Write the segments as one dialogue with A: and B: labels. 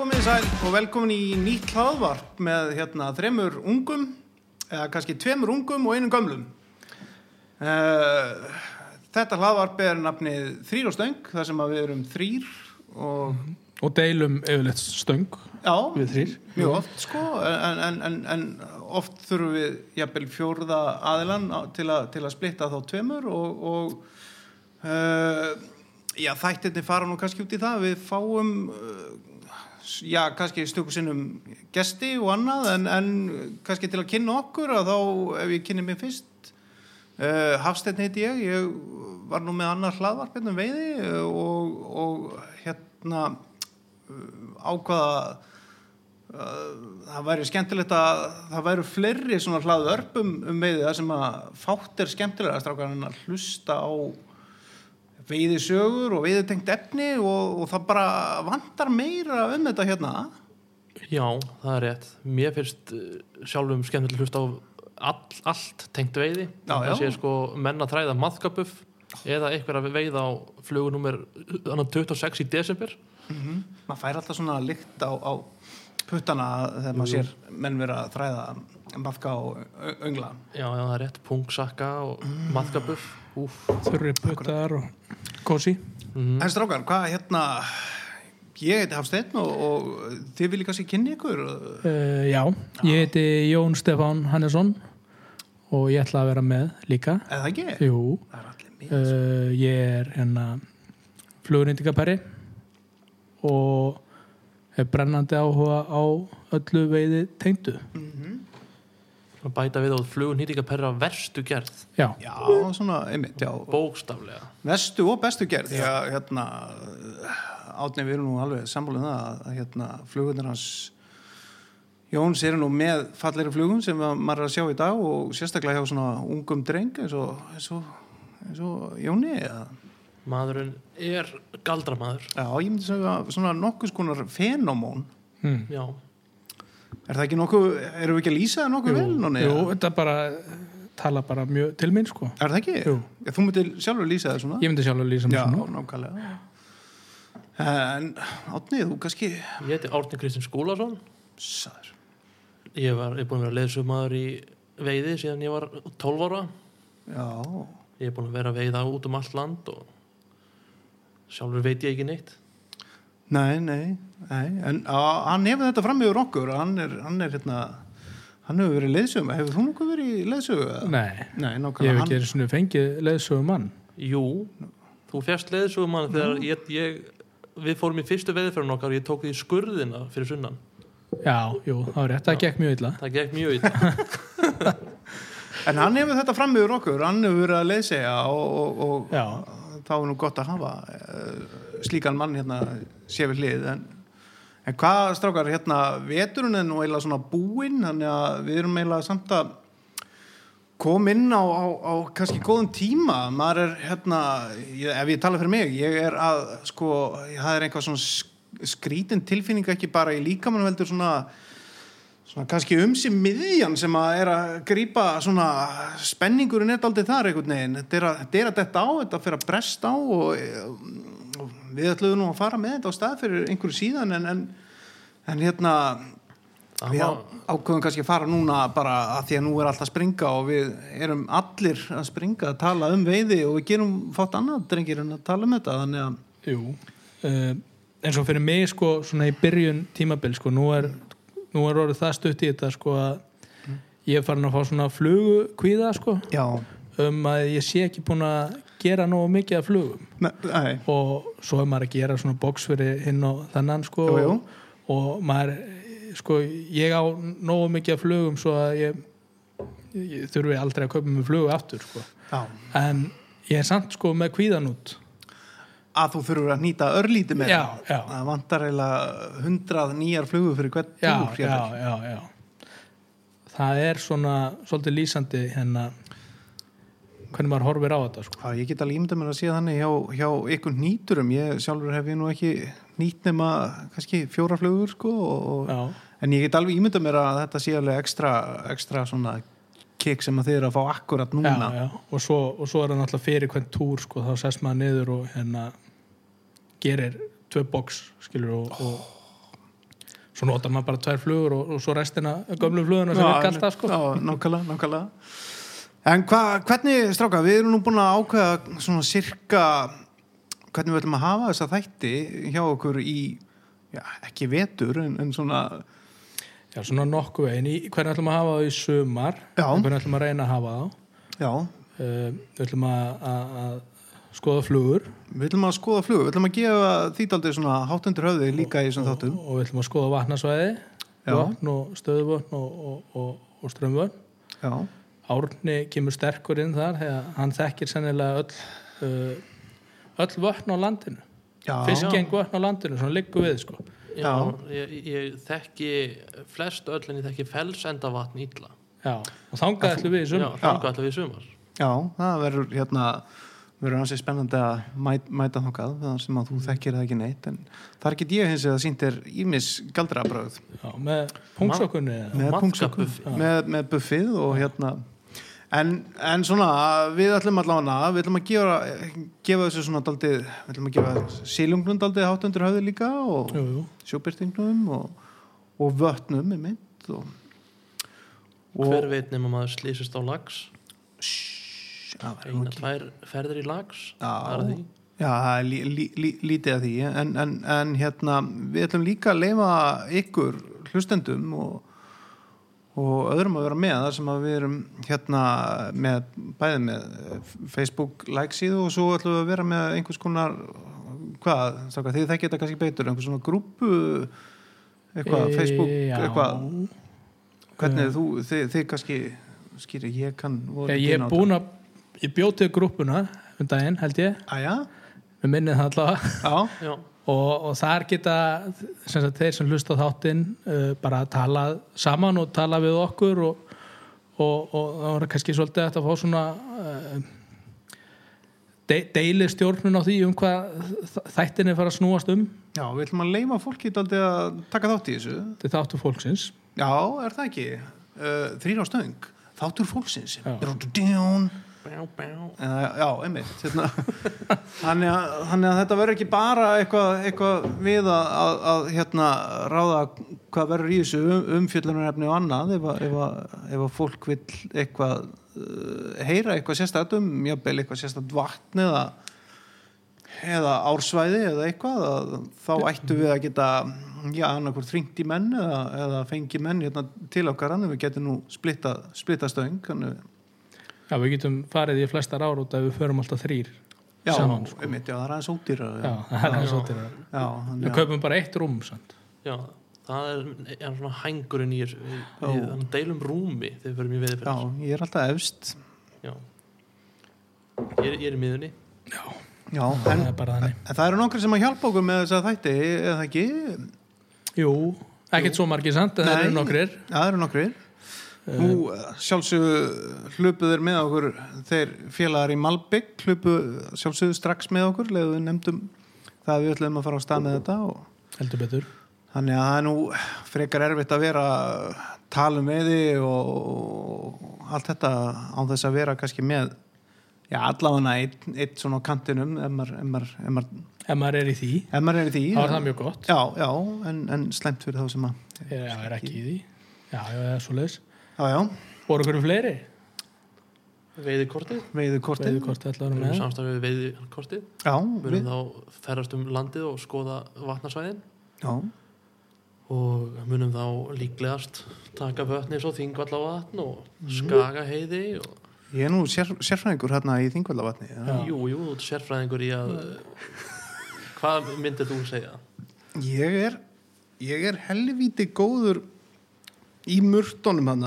A: og velkomin í nýtt hlaðvarp með hérna þremur ungum eða kannski tveimur ungum og einum gömlum uh, Þetta hlaðvarp er nafnið Þrýr og Stöng þar sem að við erum þrýr og
B: og deilum yfirleitt stöng
A: já,
B: við þrýr
A: mjög oft sko en, en, en, en oft þurfum við jafnvel fjórða aðilan á- til, a, til að splitta þá tveimur og, og uh, já, þættirni fara nú kannski út í það við fáum uh, s- já, kannski stöku sinnum gesti og annað en, en kannski til að kynna okkur að þá ef ég kynni mig fyrst uh, Hafsteinn heiti ég ég var nú með annar hlaðvarp hérna um veiði uh, og, og hérna ákvaða Eh, það væri skemmtilegt að það væru fleiri svona hlaðu örpum um veiði það sem að fátt er skemmtilega strákar en að hlusta á veiðisögur og veiðitengt efni og, og það bara vantar meira um þetta hérna
C: Já, það er rétt. Mér finnst eh, sjálfum skemmtileg hlust á all, allt tengt veiði.
A: Já, já.
C: Það sé sko menn að þræða maðkabuff eða eitthvað að veiða á flugunúmer 26 í desember.
A: maður fær alltaf svona lykt á, á puttana þegar maður sér menn vera að þræða maðka og ö- öngla
C: Já, já, það er rétt. Pungsakka og mm. maðkabuff. Úf,
B: þurri putar og kosi
A: en strákar, hvað hérna ég heiti Hafsteinn og, og þið viljið kannski kynni ykkur
B: uh,
A: Eh,
B: já, ég heiti Jón Stefán Hannesson og ég ætla að vera með líka
A: eða ekki?
B: jú,
A: það er allir mér
B: uh, ég er hérna flugurindikapæri og er brennandi áhuga á öllu veiði tengdu
C: að bæta við á flugun hýtingaperra verstu gerð.
B: já,
A: já, svona, einmitt, já
C: Bókstaflega.
A: Vestu og bestu gerð því að hérna átni við erum nú alveg sammála um það að, að hérna flugurnar hans Jóns eru nú með fallegri flugum sem að maður er að sjá í dag og sérstaklega hjá svona ungum dreng eins og, eins og, eins og Jóni eða
C: Maðurinn er galdramadur.
A: Já, ég myndi segja að svona nokkuð skonar fenómón.
B: Mm.
C: Já,
A: Er það ekki nokkuð, erum við ekki að lýsa það nokkuð vel? Nonni?
B: jú, þetta bara tala bara mjög til minn sko
A: Er það ekki?
B: Jú.
A: Já, Þú myndir sjálfur lýsa það svona?
B: ég myndi sjálf að lýsa mig
A: Já,
B: svona
A: nákvæmlega. En átni, þú kannski
C: ég heiti Árni Kristinn Skúlason.
A: Sæður.
C: Ég var, ég er búin að vera leðsumadur í veiði síðan ég var 12 ára.
A: Já,
C: Ég er búin að vera að veiða út um allt land og sjálfur veit ég ekki neitt.
A: Nei, nei, nei. en á, hann hefur þetta fram yfir okkur hann er, hann er hérna hann hefur verið leiðsögum, hefur þú nokkuð verið í leiðsögu?
B: nei,
A: nei
B: ég hef
A: nákvæmlega
B: ekki einu sinni fengið leðsögum mann
C: Jú, þú fjast leðisugum hann þegar ég, ég, við fórum í fyrstu veiðferðin okkar og ég tók því skurðina fyrir sunnan.
B: Já, jú, það var rétt, það gekk mjög illa
C: Það gekk mjög illa.
A: en hann hefur þetta fram yfir okkur hann hefur verið að leiðsega og, og,
B: Já,
A: og þá er nú gott að hafa uh, slíkan mann hérna sé við hlið en, en hvað strákar hérna veturinn er nú eiginlega svona búinn þannig að við erum eiginlega samt að kom inn á, á, á kannski góðum tíma maður er hérna, ég, ef ég tala fyrir mig ég er að sko það er eitthvað svona sk- skrítin tilfinning ekki bara í líkamann heldur svona svona kannski um sig miðjan sem að er að grípa svona spenningurinn er aldrei þar einhvern veginn þetta er að þetta, er að detta á, þetta fyrir að bresta á og, eh, og við ætluðum nú að fara með þetta á stað fyrir einhverju síðan en, en, en hérna
C: Það
A: Við
C: má,
A: á- ákveðum kannski að fara núna bara að því að nú er allt að springa og við erum allir að springa að tala um veiði og við gerum fátt annað drengir en að tala um þetta þannig að
B: jú uh, En svo fyrir mig, sko, svona í byrjun tímabil, sko, nú er nú er orðið það stutt í þetta, sko að ég er farin að fá svona flugukvíða, sko
A: já,
B: um að ég sé ekki búin að gera nógu mikið af flugum
A: me, nei,
B: og svo er maður að gera svona box fyrir hinn og þennan, sko
A: Jú, jú.
B: og maður, eh, sko, ég á nógu mikið af flugum svo að ég, ég þurfi aldrei að kaupa með flugu aftur, sko
A: já
B: en ég er samt sko með kvíðan út
A: að þú þurfur að nýta örlítið með
B: Já, já.
A: það vantar eiginlega hundrað nýjar flugur fyrir hvern
B: já,
A: túr
B: já,
A: jafnvel.
B: já, já það er svona svolítið lýsandi hérna hvernig maður horfir á þetta sko.
A: Já, ég get alveg ímynda mér að sé þannig hjá, hjá ykkur nýturum, ég sjálfur hef ég nú ekki nýtt nema kannski fjóra flugur sko og, og
B: já,
A: En ég get alveg ímynda mér að þetta sé alveg ekstra, ekstra svona kikk sem að þið eru að fá akkurat
B: já,
A: núna.
B: já. Og, svo, og svo er það náttúrulega fyrir hvern túr sko, þá sest maður niður og hérna gerir tvö box skilur og, og svo notar maður bara tvær flugur og, og svo restina gömlu fluguna sem er galt það sko
A: já, nákvæmlega, nákvæmlega En hva, hvernig, stráka, við erum nú búin að ákveða svona sirka hvernig við ætlum að hafa þessa þætti hjá okkur í, já, ekki vetur en, en svona,
B: já, svona nokkuð veginn, í, hvernig ætlum að hafa það í sumar
A: Já.
B: hvernig ætlum að reyna að hafa það
A: já
B: uh, við ætlum að, að, að skoða flugur
A: við ætlum að skoða flug, við ætlum að gefa þýtaldið svona háttundur höfði líka í þessum þáttum
B: og við ætlum að skoða vatnasvæði
A: Já.
B: vatn og stöðuvötn og, og, og, og strömmvötn
A: Já,
B: Árni kemur sterkur inn þar þegar hann þekkir sennilega öll uh, öll vötn á landinu
A: já
B: fiskgeng vötn á landinu, svona liggur við sko.
C: Já, ég, ég þekki flest öll en ég þekki felsendavatn ítla
B: já, og þangað ætlum við í
C: Já,
B: sumar
C: þangu allir við í sumar
A: Já, það verður hérna verður hansi spennandi að mæta, mæta þangað þar sem að þú þekkir það ekki neitt en þar get ég hins vegar sínt er ímis galdrabröð
B: já, með punktsokunni eða?
A: með,
C: Maðka
A: punktsökum,
C: buffi.
A: með, með buffið og hérna en, en svona við ætlum allavega við ætlum að gefa, gefa þessu svona daldið, við ætlum að gefa sílungnum daldið hátt undir höfði líka og
B: jú, jú.
A: sjóbyrtingnum og, og vötnum er mynd og, og
C: Hver veit nema maður slýsist á lags
A: það verður nú
C: Eina,
A: ekki
C: tvær ferðir í lags
A: Já.
C: Það er því
A: Já, það er lí, lí, lí, lítið að því en, en, en hérna, við ætlum líka að leifa ykkur hlustendum og, og öðrum að vera með þar sem að við erum hérna með, bæði með Facebook like síðu og svo ætlum við að vera með einhvers konar hvað, strákar, þið þekkið þetta kannski betur einhvers svona grúpu eitthvað,
B: E,
A: Facebook,
B: já.
A: eitthvað hvernig þú, þið, þið kannski skýri, ég kann voru
B: ég,
A: ekki
B: ég
A: inn á
B: er búin að ég bjóð til grúppuna um daginn held ég,
A: þetta. Æja,
B: við minnið það allavega
A: já,
C: Já,
B: og, og þar geta sem sagt, þeir sem hlusta á þáttinn uh, bara að tala saman og tala við okkur og, og, og það voru kannski svolítið hægt að fá svona uh, de, deili stjórnun á því um hvað þ- þættinni fara að snúast um
A: Já, við ætlum að leima fólki daldið að taka þátt í þessu.
B: til þáttu fólksins
A: Já, er það ekki? Uh, Þrýr á stöng, þáttur fólksins.
B: Já.
A: Drúdúdún.
C: bjá, bjá
A: Uh, já, einmitt. Hérna. Þannig að, þannig að þetta verður ekki bara eitthvað, eitthvað við að, að, að hérna, ráða hvað verður í þessu um, umfjöllunarefni og annað ef að, ef að, ef að fólk vill eitthvað uh, heyra eitthvað sérstætt um, jafnvel eitthvað sérstætt vatn eða, eða ársvæði eða eitthvað að, þá ættum við að geta já, annarkur þringt í menn eða, eða fengi menn hérna, til okkar annað við getum nú splitta, splitta stöng þannig að
B: já við getum farið í flestar ár út að við förum alltaf þrýr
A: Já,
B: saman sko.
A: Saman, einmitt, já, það er aðeins ódýra
B: já, það er svolítið það.
A: já, hann,
B: við kaupum bara eitt rúm sant?
C: Já, það er, er svona hængurinn í þessu við- við- þannig deilum rúmi þegar við förum í
A: já,
C: veðurferð
A: ég er alltaf efst
C: Já. Ég, er- ég er í miðunni
A: já, en,
B: það er bara þannig
A: en það eru nokkri sem að hjálpa okkur með þess að þætti, eða ekki
B: jú, ekkert svo margir sant en það
A: Nei.
B: eru nokkrir
A: Já, það eru nokkri
B: Eh.
A: nú sjálfsög hlupuður með okkur þeir félagar í Malbygg hlupu sjálfsög strax með okkur leðu við nefndum það að við ætlum að fara á stað með þetta og
B: heldur betur
A: Þannig að það er nú frekar erfitt að vera talum með því og allt þetta án þess að vera kannski með já, allavega eitt, eitt svona á kantinum ef maður, ef maður, ef maður,
B: ef maður er í því,
A: ef maður er í því
B: þá er það mjög gott
A: Já, já, en, en slæmt fyrir þá sem að
B: Já, er ekki í því. Já, já, það er svo leiðis.
A: Já, já,
B: Voru ykkur fleiri?
C: Veiðikortið
A: veiðu kortið
B: Veiðu hvort það ætlaður
C: Við
B: með.
C: erum samstæðum við veiðikortið
A: Já,
C: Við
A: við,
C: erum þá ferðast um landið og skoða vatnarsvæðin
A: já,
C: og munum þá líklegast taka vötni svo þingvalla vatn og skaga heiði og
A: ég er nú sér, sérfræðingur hérna í Þingvallavatni já.
C: jú, jú, þú ert sérfræðingur í að hvað myndir þú segja?
A: Ég er, ég er helvíti góður í murtunum hann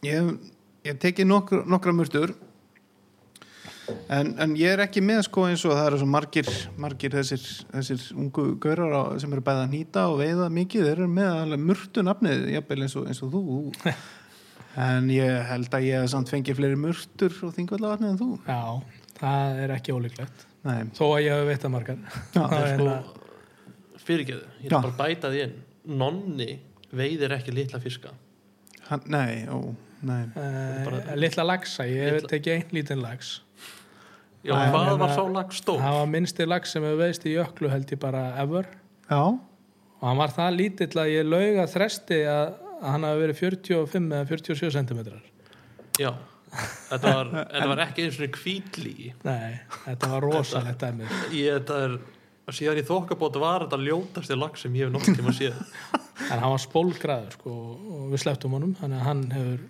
A: ég, hef- ég hef tekið nokkur, nokkra murtur en, en ég er ekki með sko eins og það eru svo margir, margir þessir, þessir ungu gaurar á, sem eru bæði að nýta og veiða mikið þeir eru með alveg murtunafnið jafnvel eins og, eins og þú en ég held að ég hef samt fengið fleiri murtur og þingvallavatni en þú
B: Já, það er ekki ólíklegt.
A: Nei,
B: Þó að ég hef veit að margar.
A: Já,
B: það er
C: sko,
B: sko...
C: fyrirgeðu, ég
A: Já.
C: er bara að bæta því inn nonni veiðir ekki litla fiska
A: hann, nei, ó, nei
B: Uh, litla lagsa, ég hef
C: Litla-
B: tekið einn lítinn lags.
C: Já,
A: Nei,
C: hvað
B: en
C: var
B: að-
C: sá lag stór?
B: Það var minnsti lags sem hefur veist í jöklu held ég bara ever
A: Já,
B: og hann var það lítill að ég lauga þresti að, að hann hafi verið 45 eða 47 cm
C: já þetta var, þetta var ekki eins og kvítli
B: nei, þetta var rosalegt dæmi
C: ég, þetta er síðan ég þokkabót var þetta ljótasti lag sem ég hef nokkuð tíma séð
B: en hann var spólgraður sko, og við sleftum honum þannig að hann hefur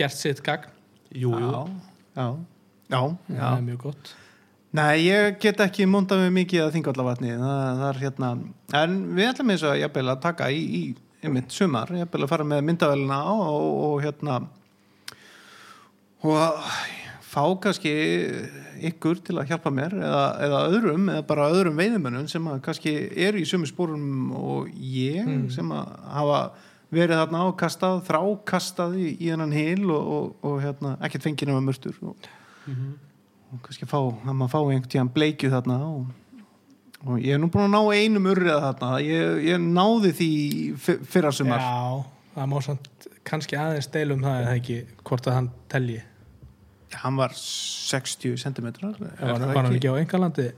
B: gert sitt gagn
C: jú, jú,
A: já, já, já, já.
B: það er mjög gott
A: Nei, ég get ekki múndað mig mikið að þingallavatni, það, það er hérna en við ætlum eins og jafnvel að taka í, í einmitt sumar, jafnvel að fara með myndavælina á og, og hérna og fá kannski ykkur til að hjálpa mér eða, eða öðrum, eða bara öðrum veiðumönnum sem að kannski eru í sumu spórum og ég sem að hafa verið þarna ákastað þrákastað í, í hennan hil og, og, og hérna, ekkert fengið nema mörtur og, og kannski fá, að maður fá einhvern tíðan bleikju þarna og, og ég er nú búin að ná einum urrið þarna, ég, ég náði því fyrra sumar
B: já, það má samt kannski aðeins deilum það er það ekki hvort að hann telji
A: hann var 60 cm
B: var, var hann ekki á engalandi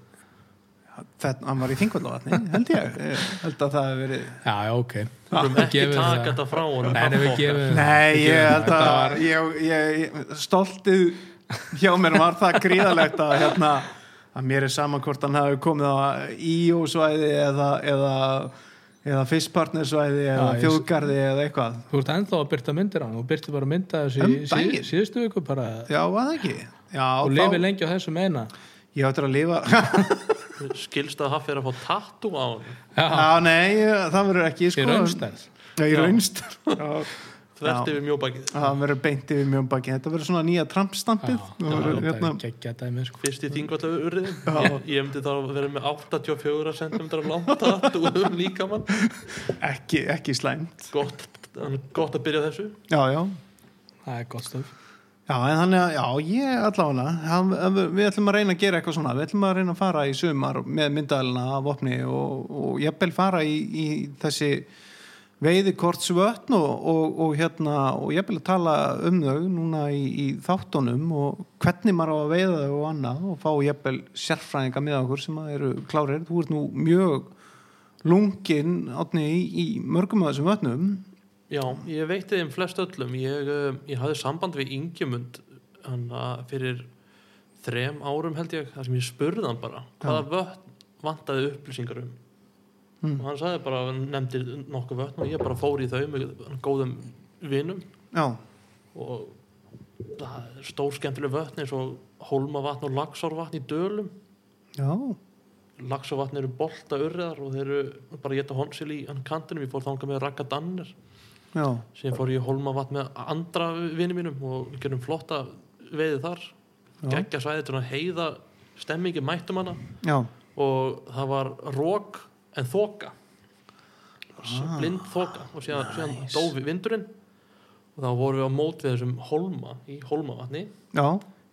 A: Þetta, hann var í þingvallavatni, held ég Ég held að það hefur verið
B: já, já, ok
C: við skulum Ah, ekki
B: Gefum
C: taka
B: það.
C: þetta um frá honum
B: Nei, nei, við gefum
A: Nei, ég
B: við gefum
A: held
B: Þetta
A: að
B: var-
A: ég, ég, ég, stoltið hjá mér var það gríðalegt að hérna, að mér er saman hvort hann hafi komið á íjósvæði eða, eða, eða fiskpartnersvæði eða
B: ég-
A: þjóðgarði eða eitthvað
B: Þú ert ennþá að byrta myndir á hann, þú byrti bara mynda þessu í
A: Um
B: síð,
A: daginn.
B: síðustu viku bara
A: Já, var það ekki? Já,
B: og
A: þá-
B: lifi lengi á þessu meina.
A: Ég áttur að lifa
C: skilst að hafa fyrir að fá tattu á honum
B: Já,
A: Já, nei, það verður ekki
B: í
A: sko.
B: raunstæð.
A: Já, í raunst Já,
C: þvert
A: Já.
C: yfir mjóbakið
A: Það verður beint yfir mjög baki Þetta verður svona nýja trampstampið Það verður,
B: Þetta
A: hérna,
B: er geggja dæmi, sko.
C: fyrst í þingvallega urrið ég, ég myndi þá að vera með 84 cm langt tattu um líkamann
A: ekki, ekki slæmt
C: gott, gott að byrja á þessu
A: Já, já
B: Það er gott stöf.
A: Já, en þannig að, já, ég allavega hann- hann- Við ætlum að reyna að gera eitthvað svona Við ætlum að reyna að fara í sumar með myndalina af opni og, og jafnvel fara í, í þessi veiðikorts vötn og, og, og hérna og jafnvel að tala um þau núna í, í þáttunum og hvernig maður á að veiða þau og annað og fá jafnvel sérfræðinga með okkur sem að eru klárir þú ert nú mjög lungin átni í, í mörgum af þessum vötnum
C: Já, ég veitti þeim flest öllum ég, eh, ég hafði samband við Ingemund hann að fyrir þrem árum held ég, þar sem ég spurði hann bara hvaða vötn vantaði upplýsingar um og hann sagði bara hann nefndi nokkuð vötn og ég bara fór í þau með góðum vinum
A: Já,
C: og það er stór skemmtileg vötn eins og hólmavatn og lagsárvatn í dölum
A: já,
C: lagsárvatn eru bolta urriðar og þeir eru bara geta honsil í hann kantinum, ég fór þangað með Ragga Danner
A: já
C: síðan fór ég í Holmavatn með andra vinni mínum og við gerum flotta veiði þar geggja svæði til að heiða stemmingi mættum hana
A: Já,
C: og það var rók en þoka ah, blind þoka og síðan, síðan
A: nice.
C: dófi vindurinn og þá vorum við á mót við þessum Holma í Holmavatni
A: já,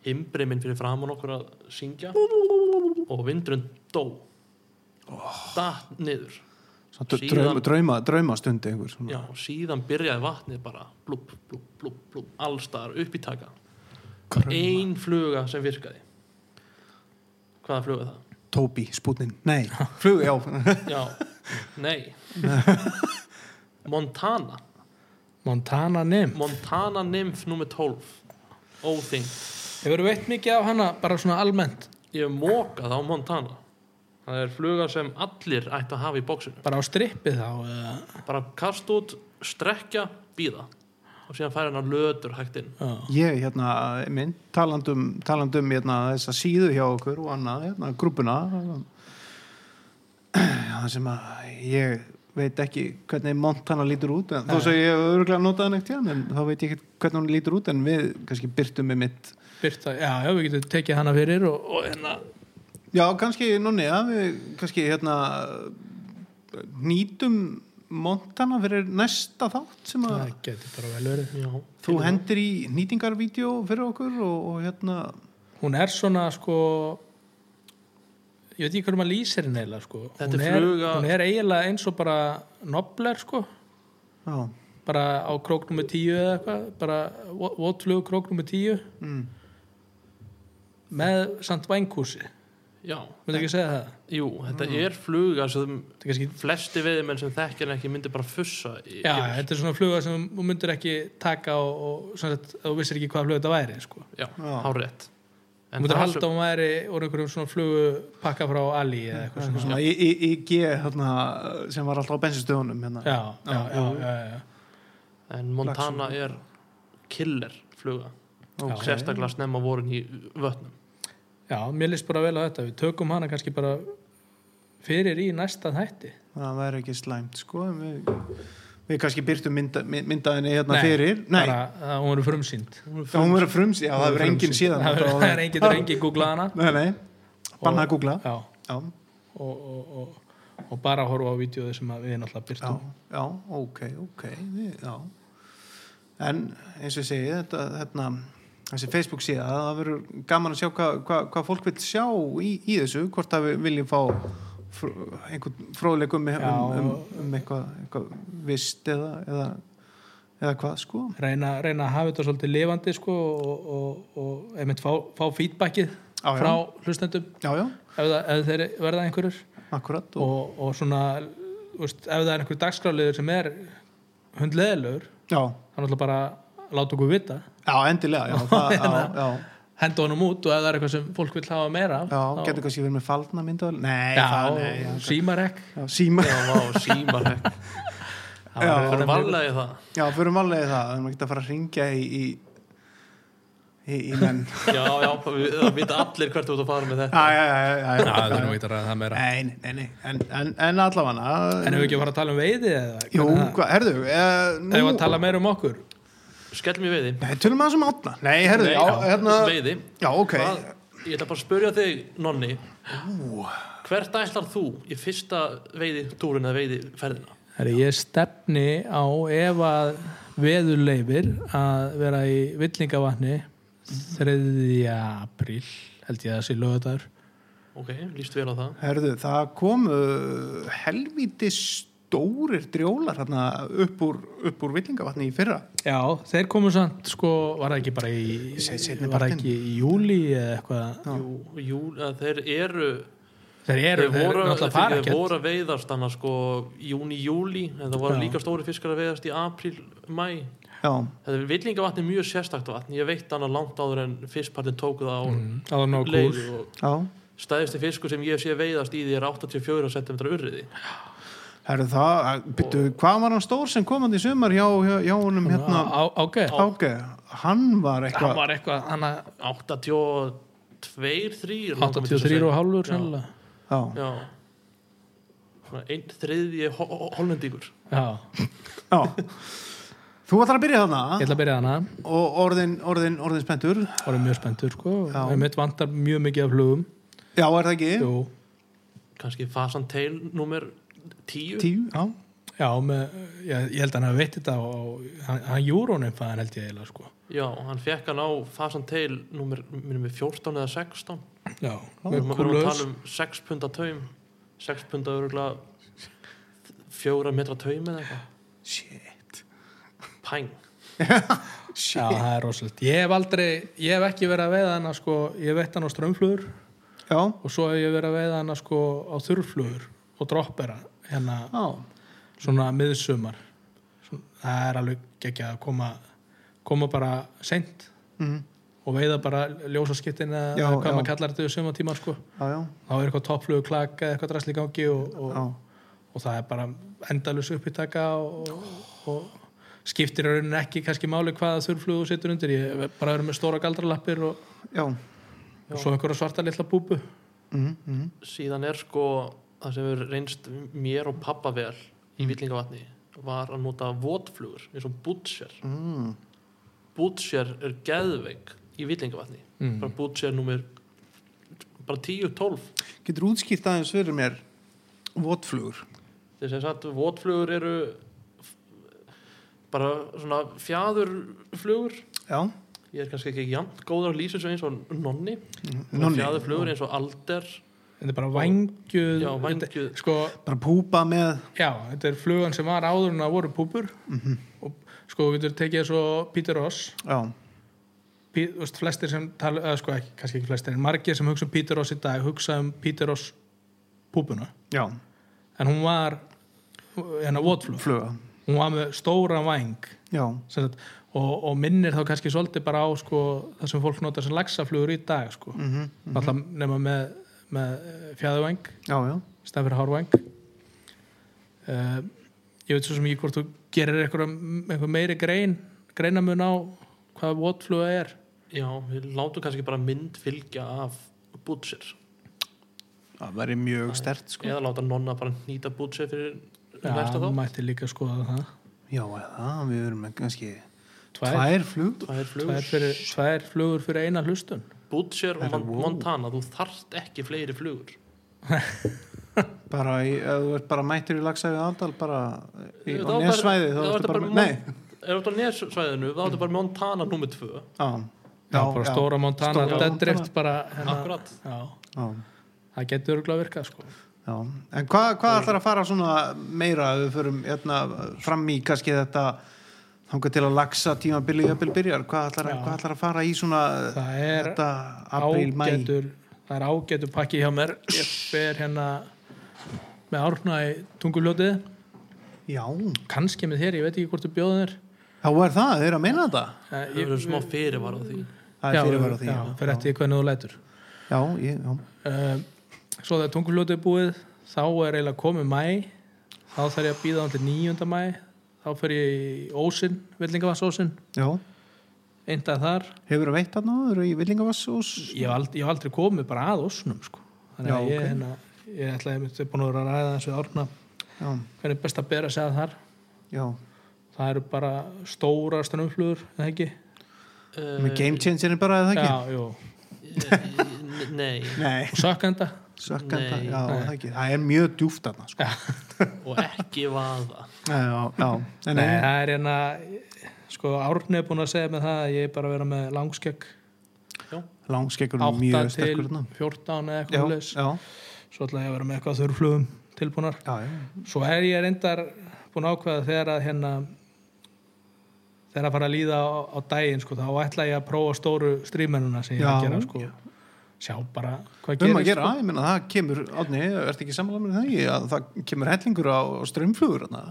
C: himbrimin fyrir framann okkur að syngja og vindurinn dó datt niður
A: Svo
C: Síðan-
A: drauma, drauma, draumastundi einhver svona.
C: Já, og síðan byrjaði vatnið bara blúb, blúb, blúb, blúb, allstar upp í taka ein fluga sem virkaði hvaða fluga er það?
A: Tóbi, spútnin, nei, flug, já
C: Já, nei Montana
B: Montana Nim.
C: Montana nymf nummer 12 óþing
B: Hefur þú veitt mikið á hana, bara svona almennt,
C: ég hef mókað á Montana það er fluga sem allir ætti að hafa í bóksinu
B: bara á strippið þá? eða?
C: bara kast út, strekja, býða og síðan færi hann að lötur hægt inn
B: Já.
A: Ég, hérna, minn, talandum, talandum hérna, þessa síðu hjá okkur og annað, hérna, grúpuna það sem að ég veit ekki hvernig Montana lítur út en, þó sem ég hef örgulega notað hann ekkert hérna en þá veit ég ekki hvernig hún lítur út en við kannski byrtum með mitt
B: Birta, já, já, við getum tekið hana fyrir og, og hérna,
A: Já, kannski núni, ja, við kannski hérna nýtum Montana fyrir næsta þátt sem að
B: það getur bara vel verið.
C: Ah. Já,
A: þú hendir í nýtingarvídeó fyrir okkur og, og hérna
B: Hún er svona, sko, ég veit ekki hvernig maður lýsir henni eiginlega, sko.
C: Þetta
B: Hún
C: er fluga-
B: Hún er eiginlega eins og bara nobler, sko.
A: já,
B: bara á krók nummer 10 eða eitthvað bara votflug krók nummer 10
A: mm,
B: með samt vængkúsi
C: já,
B: myndu ekki segja það?
C: jú, þetta
B: Mm.
C: er fluga sem
B: Þetta er kannski
C: flesti veðimenn sem þekkir hann ekki myndi bara fussa í,
B: Já,
C: yfir.
B: þetta er svona fluga sem þú myndir ekki taka og, og sem sagt, þú vissir ekki hvaða fluga þetta væri sko.
C: já,
A: Já.
C: hárétt
B: þú myndir halda að hún væri úr einhverjum svona flugu pakka frá Ali eða eitthvað
A: eitthvað
B: svona
A: svona í- í- IG þarna, sem var alltaf á bensinstöðunum hérna.
B: já, já, já, já, já.
C: en Montana er killer fluga
A: Ok.
C: sérstaklega snemma vorun í vötnum
B: já, mér líst bara vel á þetta við tökum hana kannski bara fyrir í næsta þætti
A: það væri ekki slæmt sko en við, við kannski byrtum mynda, myndaðinni hérna fyrir Nei,
B: bara að hún verður frumsýnd
A: já, hún verður frums já, það
B: Hún
A: verður enginn
B: frumsýnd.
A: síðan
B: það verður- það er enginn, það er enginn googlað hana
A: nei, nei, banna að googla
B: já,
A: já,
B: og, og, og, og bara horfa á vídeoði sem að við náttúrulega
A: já,
B: byrtum
A: já, ok, ok við- já en eins og ég segi þetta, þetta, þessi Facebook síða það verður gaman að sjá hvað hva, hva fólk vil sjá í, í þessu hvort að við viljum fá fr, einhvern fróðleik um, um,
B: Já.
A: um, um eitthvað, eitthvað vist eða, eða, eða hvað sko
B: reyna, reyna að hafa þetta svolítið lifandi sko, og, og, og einmitt fá, fá feedbackið
A: Já, já.
B: frá hlustendum
A: já, já,
B: ef, það, ef þeir verða einhverjur
A: akkurat og,
B: og, og svona þú veist, ef það er einhver dagskráliður sem er hundleðilegur
A: já,
B: þá náttúrulega bara láta okkur vita
A: Já, endilega, já, það, já, já,
B: henda honum út og ef það er eitthvað sem fólk vil hafa meira af,
A: já,
B: þá-
A: getur kannski verið með faldna myndavel, nei,
B: já,
A: það, nei, já,
B: símarekk
A: já, síma,
C: já, vá, símarhekk
B: það
A: Já.
B: var-
C: það er varlega í það
A: já, förum alveg í það, við erum ekki að fara að ringja í, í, í, í menn,
C: já, já, við- það vita allir hvert þú ert að fara með þetta
A: já, já, já, já, já,
B: Já, það er nú ekki að ræða það meira
A: nei, nei, nei, nei, en, en, en allavega,
B: en ef við ekki að fara að tala um veiði eða
A: jú,
B: hvernig það-
A: hvað, herðu, eh,
B: ef við
A: nú,
B: að tala meira um okkur
C: skell mér veiði
A: nei, tölum aðeins um átna, nei, herðu,
C: Nei,
A: já, hérna,
C: veiði
A: já, ok,
C: Hvað, ég ætla bara að spyrja þig, Nonni hvert ætlar þú í fyrsta veiði túrin eða veiði ferðina
B: Heri, ég stefni á ef að veður leifir að vera í villingavatni 3. apríl held ég að það sé lögadagur
C: ok, líst vel á það
A: herðu, það komu helviti stórir drjólar hérna upp úr, upp úr villingavatni í fyrra,
B: Já, þeir komu samt sko, var það ekki bara í
A: Se- seinni
B: var það
A: partinn.
B: ekki í júli eða eitthvað
C: jú, jú, að þeir eru
B: Þeir eru,
C: þeir
B: þeir
C: voru,
B: náttúrulega
C: þeir,
B: fara
C: þeir
B: ekkert
C: voru að veiðast annars sko júni, júli en það voru
B: Já.
C: líka stóri fiskar að veiðast í apríl, mæ
A: já,
C: þetta er villingavatn er mjög sérstakt vatn ég veit annað langt áður en fiskpartin tóku það á mm.
B: Það var nóg kúl
C: leiðu og
A: já,
C: stæðisti fiskur sem ég sé veiðast í því er 84 cm urriði
A: Herru það, byttu, hvað var hann stór sem kom hann í sumar hjá, hjá, hjá honum hérna
B: Á- Ágæð,
A: Áge, hann var
B: það
A: eitthvað
B: var eitthvað hann að
C: 82, 3
B: 83 og hálfur
C: Já.
B: sennilega.
A: já,
C: Já Svona einn þriðji ho- ho- hollendingur
B: Já,
A: já Þú ætlar að byrja
B: ég
A: þarna
B: ætla að byrja hana
A: og orðin, orðin, orðin spenntur
B: voru mjög spenntur sko
A: Já.
B: og mitt vantar mjög mikið af flugum
A: Já, er það ekki?
B: Jú,
C: kannski Fasan Tail nummer 10
A: Tíu, já,
B: Já, með, ég, ég held að hann hafi veitt þetta og hann, hann júrónum fæðan held ég eiginlega sko.
C: Já, hann fekk hann á Fasan Tail nummer, nummer 14 eða 16
B: Já,
C: Við
B: mjög
C: erum við erum að
B: kúlus
C: tala um 6 punda taum 6 punda örugla 4 metra taum eða eitthvað
A: shit
C: Pæng
B: Já, það er rosalegt. Ég hef aldrei, ég hef ekki verið að veiða hana sko, ég hef veitt hana á strömmflugur
A: Já,
B: og svo hef ég verið að veiða hana sko á þurrflugur og droppera hérna
A: já,
B: svona miðsumar. Svona- Það er alveg ekki að koma, koma bara seint
A: mm,
B: og veiða bara ljósaskittin eða
A: Já,
B: hvað
A: já.
B: maður kallar þetta suma tíma sko.
A: já, já,
B: Þá er eitthvað toppflugur klaka eða eitthvað drasli í gangi og,
A: já.
B: og, og það er bara endalus uppbyttaka og, og, og skiptir í rauninni ekki kannski máli hvaða þurrflugu þú setur undir ég hef bara verið með stóra galdralappir og,
A: Já,
B: og svo einhverja svarta litla búbu
A: mm, mm,
C: síðan er sko það sem hefur reynst mér og pappa vel
B: Mm.
C: í villingavatni var að nota votflugur eins og butcher
A: mm.
C: Butcher er geðveik í villingavatni
B: Mm.
C: bara Butcher nummer bara 10-12
A: Getur útskýrt aðeins fyrir mér votflugur
C: þess að satt votflugur eru f- bara svona fjæðurflugur
A: Já,
C: ég er kannski ekki jant góður að lýsa þessu eins og nonni
A: Mhm. nonni,
C: fjæðurflugur eins og alder
B: þetta er bara vangjuð
C: Já, vængjuð.
B: Þetta- sko,
A: bara púpa með
B: já, þetta er flugan sem var áður en það voru búbur og sko, við getur tekið svo Peter Ross
A: Já,
B: Pí- þú veist, flestir sem tala, eða sko ekki, kannski ekki flestir en margir sem hugsa um Peter Ross í dag hugsa um Peter Ross púpuna
A: já,
B: en hún var hérna votflug,
A: fluga
B: hún var með stóra væng
A: já,
B: sem sagt, og, og minnir þá kannski svolítið bara á sko, það sem fólk nota sem laxaflugur í dag sko. mm
A: mhm,
B: nema með, með fjæðuvæng
A: já, já
B: stað fyrir hárvæng uh, ég veit svo sem ekki hvort þú gerir einhver, einhver meiri grein greinamun á hvað votfluga er
C: Já, við látum kannski bara mynd fylgja af bútsir
A: það væri mjög stert sko já,
C: eða láta nonna bara nýta bútsir fyrir
B: Já,
C: næsta þá
B: mætti líka skoða það
A: eða við erum með kannski tvær
B: Tvær, tvær,
A: flug
C: Það
B: tvær,
C: er flugur,
B: fyrir, tvær flugur fyrir eina hlustun
C: bútsir og
A: Herra,
C: Mon-
A: wow.
C: Montana þú þarft ekki fleiri flugur
A: bara, í, ef þú ert bara mættur í lagsaði aðdal bara í,
C: Þá
A: á
C: bara-
A: nesvæði þá
C: þá
A: ertu
C: ertu
A: bara,
C: bara
A: með-
C: með-
A: nei,
C: er þetta á nesvæðinu, þá er þetta bara Montana nummer 2
A: já,
B: já, bara stóra Montana,
A: Stóra
B: deadrift bara hérna,
C: akkurat,
B: já,
A: já,
B: það getur örgulega virkað sko.
A: já. en hvað hva ætlar að fara svona meira ef við förum hérna, fram í kannski þetta þangað til að lagsa tímabili jöfnbili byrjar hvað ætlar,
B: Já.
A: hvað ætlar að fara í svona
B: það er
A: þetta apríl, mæ
B: ágætur það er ágætur pakki hjá mér ég fer hérna með árna í tunguljótið
A: já,
B: kannski með þér, ég veit ekki hvort þú bjóðin er
A: þá er það, þau eru að meina þetta
B: Eh,
C: það
B: ég-
C: verður smá fyrirvar á því
A: það er fyrirvara því
B: já,
A: já,
B: fyrir eftir því hvernig þú lætur
A: já, ég, já.
B: uh, svo þegar tunguljótið er búið þá er eiginlega komið mæ þá þarf ég að býða til 9. mæ þá fer ég í ósinn, villingavassósinn
A: já.
B: eindað þar
A: hefur það veitt hann áður í Villingavass og
B: ég hef aldrei, ég hef aldrei komið bara að ósnum sko. þannig að
A: Já,
B: ég,
A: ok.
B: hérna, ég ætlaði einmitt- ég er búin að vera að ræða þessu árna
A: já,
B: hvernig er best að bera sig að þar
A: já
B: það eru bara stóra strömmflugur eða ekki
A: með game changer er bara eða ekki
B: Eh, já, jú.
C: Eh, nei
A: nei,
B: og sökkenda
A: sökkanda,
C: Nei.
A: já, það ekki það er mjög djúft þarna sko.
C: og ekki vaða
A: já, já, en
B: Nei,
A: nei,
B: það er hérna sko Árni er búin að segja með það að ég er bara að vera með langskegg
A: langskekkur er
B: 8
A: mjög
B: til
A: sterkur þarna
B: 14 eða
A: já,
B: eitthvað leis
A: já,
B: svo ætla ég að vera með eitthvað þurrflugum tilbúnar
A: já, já,
B: svo er ég reyndar búin að ákveða þegar að hérna þegar að fara að líða á, á daginn sko, þá ætla ég að prófa stóru strímennuna sem ég er að
A: Já.
B: gera sko. sjá bara
A: um
B: hvað gerist sko.
A: að gera, ég meina það kemur átni, ertu ekki sammála með það Ég- að það kemur hellingur á strömmflugur þarna.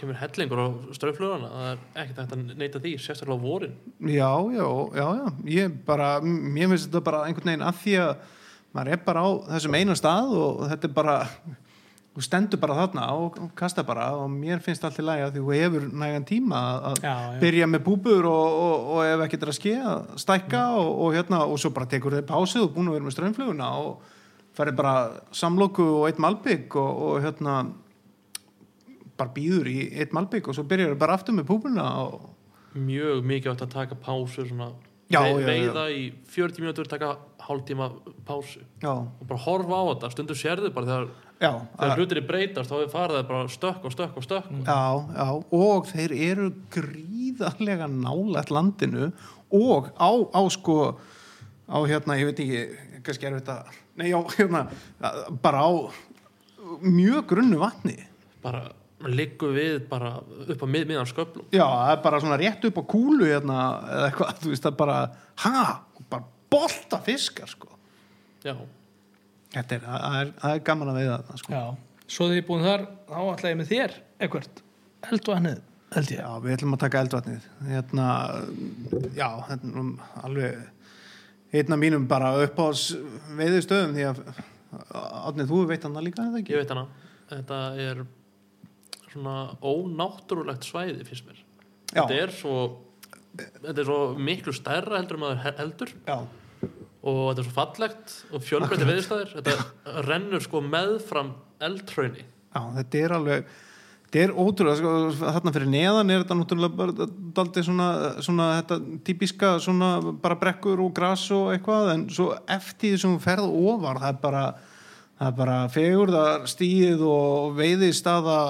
C: kemur hellingur á ströflugana það er ekkert hægt að neita því, sérstaklega á vorin
A: já, já, já, já ég bara, m- mér finnst þetta bara einhvern veginn að því að maður er bara á þessum eina stað og þetta er bara þú stendur bara þarna og, og kasta bara og mér finnst allt í lagi að því þú hefur nægan tíma að
B: já, já.
A: byrja með búbur og, og, og ef ekkert er að skeja stækka
B: Mm.
A: og, og hérna og svo bara tekur þeir pásið og búin að vera með strömmfluguna og farið bara samloku og eitt malbygg og, og hérna bara býður í eitt malbygg og svo byrjar þeir bara aftur með búbuna og
C: mjög mikið átt að taka pásur svona,
A: Já, já, já.
C: vei- veiða í 40 mínútur taka hálftíma pásu
A: já,
C: og bara horfa á þetta, stundur sérðu bara þegar,
A: já að-
C: þegar hlutir breytast þá er farið það bara stökk og stökk og stökk
A: Já, já, og þeir eru gríðarlega nálægt landinu og á, á sko á hérna, ég veit ekki kannski er þetta, nei já, hérna bara á mjög grunnu vatni
C: bara liggum við bara upp á mið, miðan sköflum
A: já, það er bara svona rétt upp á kúlu hérna, eða eitthvað, þú veist það er bara ha, bara bolta fiskar sko,
C: já,
A: þetta er, það er, það er gaman að veiða það sko,
B: já. svo þegar ég er búin þar þá ætla ég með þér eitthvað held og hannið, held ég
A: já, við ætlum að taka eldvatnið hérna, já hérna, um, alveg einn af mínum bara upp á veiðu stöðum því að Átni, þú veit hann það líka eða ekki?
C: ég veit hana þetta er svona ónáttúrulegt svæði finnst mér
A: Já.
C: þetta er svo þetta er svo miklu stærra heldur en maður heldur
A: Já,
C: og þetta er svo fallegt og fjölbreytti veðurstæðir þetta rennur sko meðfram eldhrauni
A: já, þetta er alveg þetta er ótrúlega, sko, þarna fyrir neðan er þetta náttúrulega bara daldið svona, svona þetta típiska svona bara brekkur og gras og eitthvað en svo eftir því sem hún ferð ofar það er bara, það er bara fegurðar stíð og veiði staða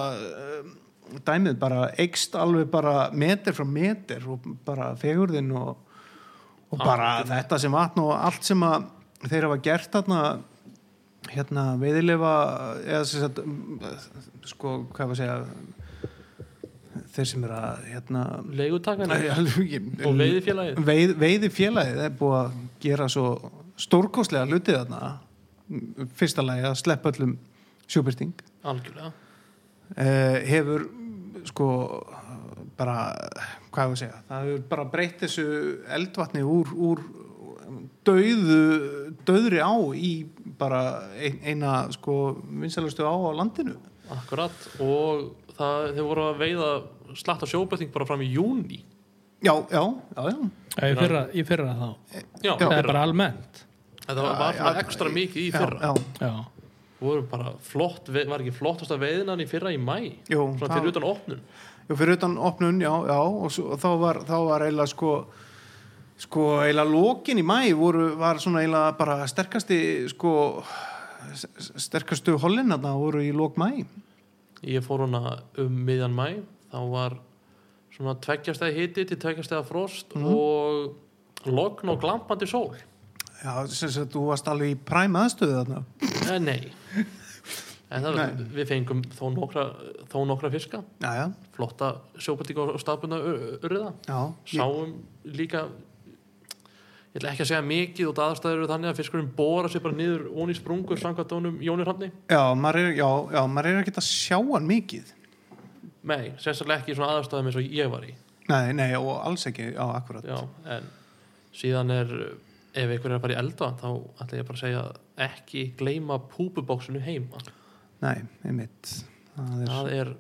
A: dæmið bara eikst alveg bara meter frá meter og bara fegurðin og, og bara þetta sem vatn og allt sem að þeir hafa gert þarna hérna um, veiðilefa eða sem sagt m, sko hvað var að segja þeir sem er að hérna,
C: leigutakan og
A: og
C: veiðifélagið
A: veið, veiði félagið er búið að gera svo stórkostlega hluti þarna fyrsta lagi að sleppa öllum sjóbyrting
C: algjörlega
A: uh, hefur mm, sko bara, hvað hefur að segja það hefur bara breytt þessu eldvatni úr, úr döðu, döðri á í bara ein- eina sko vinsælustu á á landinu
C: akkurat og það, þeir voru að veiða slatta sjóbæting bara fram í júni
A: já, já, já, já
B: Ég fyrra, ég fyrra þá
C: já,
B: Það er
C: fyrra.
B: bara almennt
C: þetta var, var svona ekstra mikið í fyrra
A: já, já.
B: Já,
C: voru bara flott, ve- var ekki flottasta veiðinan í fyrra í mæ
A: Jú,
C: svona
A: það-
C: fyrir utan opnun
A: Já, fyrir utan opnun, já, já og, svo, og þá var, þá var eiginlega sko sko eiginlega lokin í mæ voru, var svona eiginlega bara sterkasti sko s- s- sterkastu hollinarna voru í lok mæ
C: ég fór hana um miðjan mæ þá var svona tveggjastæði hiti til tveggjastæða frost
A: Mhm.
C: og logn og glampandi sól
A: Já, sem sagt, þú varst alveg í præm aðstöðu þarna
C: eh, nei en það,
A: Nei.
C: við fengum þó nokkra, þó nokkra fiska
A: Já, já,
C: flotta sjópatík og stafbunna urriða
A: já, ég,
C: sáum líka ég ætla ekki að segja mikið og aðstæður eru þannig að fiskurinn bóra sér bara niður ón í sprungu samkvæmt honum Jóni Hrafni
A: já, maður er, já, já, maður er ekki að sjá hann mikið
C: nei, sérstaklega ekki í svona aðstæðum eins og ég var í
A: Nei, nei, og alls ekki, já, akkurat
C: Já, en síðan er ef einhver er að fara í elda þá ætla ég bara að segja ekki gleyma púpubóksinu heima
A: Nei, einmitt Það er
C: það er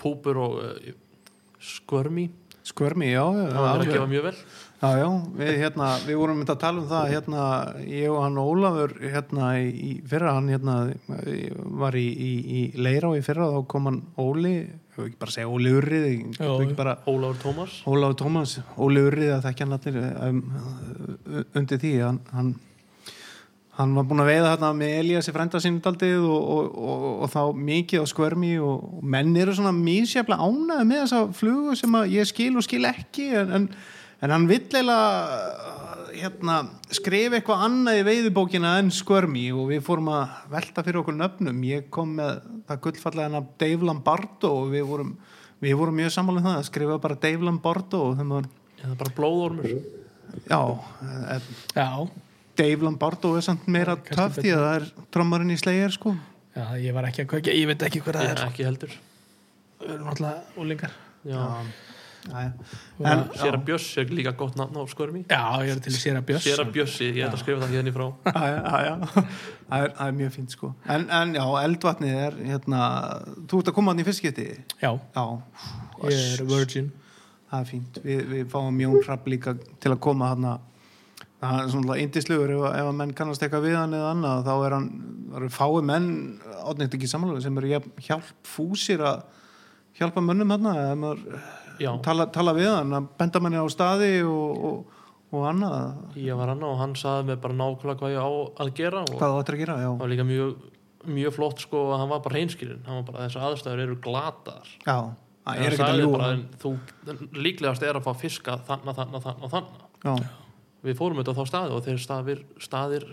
C: púpur og uh, skvörmi
A: skvörmi, já, já,
C: það er að
A: alveg.
C: gefa mjög vel
A: Já, já, við, hérna, við vorum myndið að tala um það hérna, ég og hann Ólafur hérna, í, í fyrra hann hérna, var í, í, í Leirá í fyrra og þá kom hann Óli ég vil ekki bara segja Óli Urrið ég get
B: Já,
A: ekki
B: já.
A: bara,
C: Ólafur Tómas
A: Ólafur Tómas, Óli Urrið að þekkja hann allir um, undir því hann, hann, hann var búin að veiða hérna, með Elíasi frænda sinni daldið og, og, og, og þá mikið á skvörmi og, og menn eru svona mísjaflega ánæði með þessa flugu sem að ég skil og skil ekki en, en, en hann vill eiginlega uh, hérna, skrifa eitthvað annað í veiðubókina en skvörmi og við fórum að velta fyrir okkur nöfnum ég kom með það gullfallega hennar Dave Lombardo og við vorum Við vorum mjög sammála um það að skrifa bara Dave Lombardo og þeim var,
C: eða bara blóðormur
A: já, eh,
B: já,
A: Dave Lombardo er samt meira töff því að það er trommarinn í slegir sko.
B: já ég var ekki að kveikja Ég veit ekki hvað það
C: ég,
B: er sko.
C: ekki heldur
B: Við erum alltaf úlingar
C: Já.
A: Jæja. En,
C: Séra Bjössi er líka gott nafn á skvörmi
B: Já, ég er til að séra bjöss
C: Séra Bjössi, ég ætla að skrifa það hérna í frá
A: Já, já, já. Það er, það er mjög fínt sko. En, en já, eldvatnið er hérna, þú ert að koma hann í fiskiti?
B: Já,
A: Já,
B: ég er virgin
A: það er fínt. Við, við fáum Jón Hrapp líka til að koma hann Það er svona indislugur ef, að- ef að menn kannast eitthvað við hann eða annað þá er hann, það eru fái menn átnýtt ekki samanlega sem eru jafn hjálpfúsir að hjálpa mönnum hann eða maður eh,
C: Já,
A: tala, tala við hann að benda manni á staði og, og, og annað
C: ég var hann og hann saði mig bara nákvæmlega hvað ég á að gera og
A: hvað þú ættir að gera,
C: það
A: já,
C: var líka mjög, mjög flott sko að hann var bara reynskilinn hann var bara þessar aðstæður eru glataðar
A: já það er
C: En
A: ekki
C: hann
A: að
C: sagði
A: ljúga
C: bara, en þú, líklegast er að fá fiska þarna, þarna, þarna, þarna
A: já,
C: við fórum þetta á þá staði og þeir staðir, staðir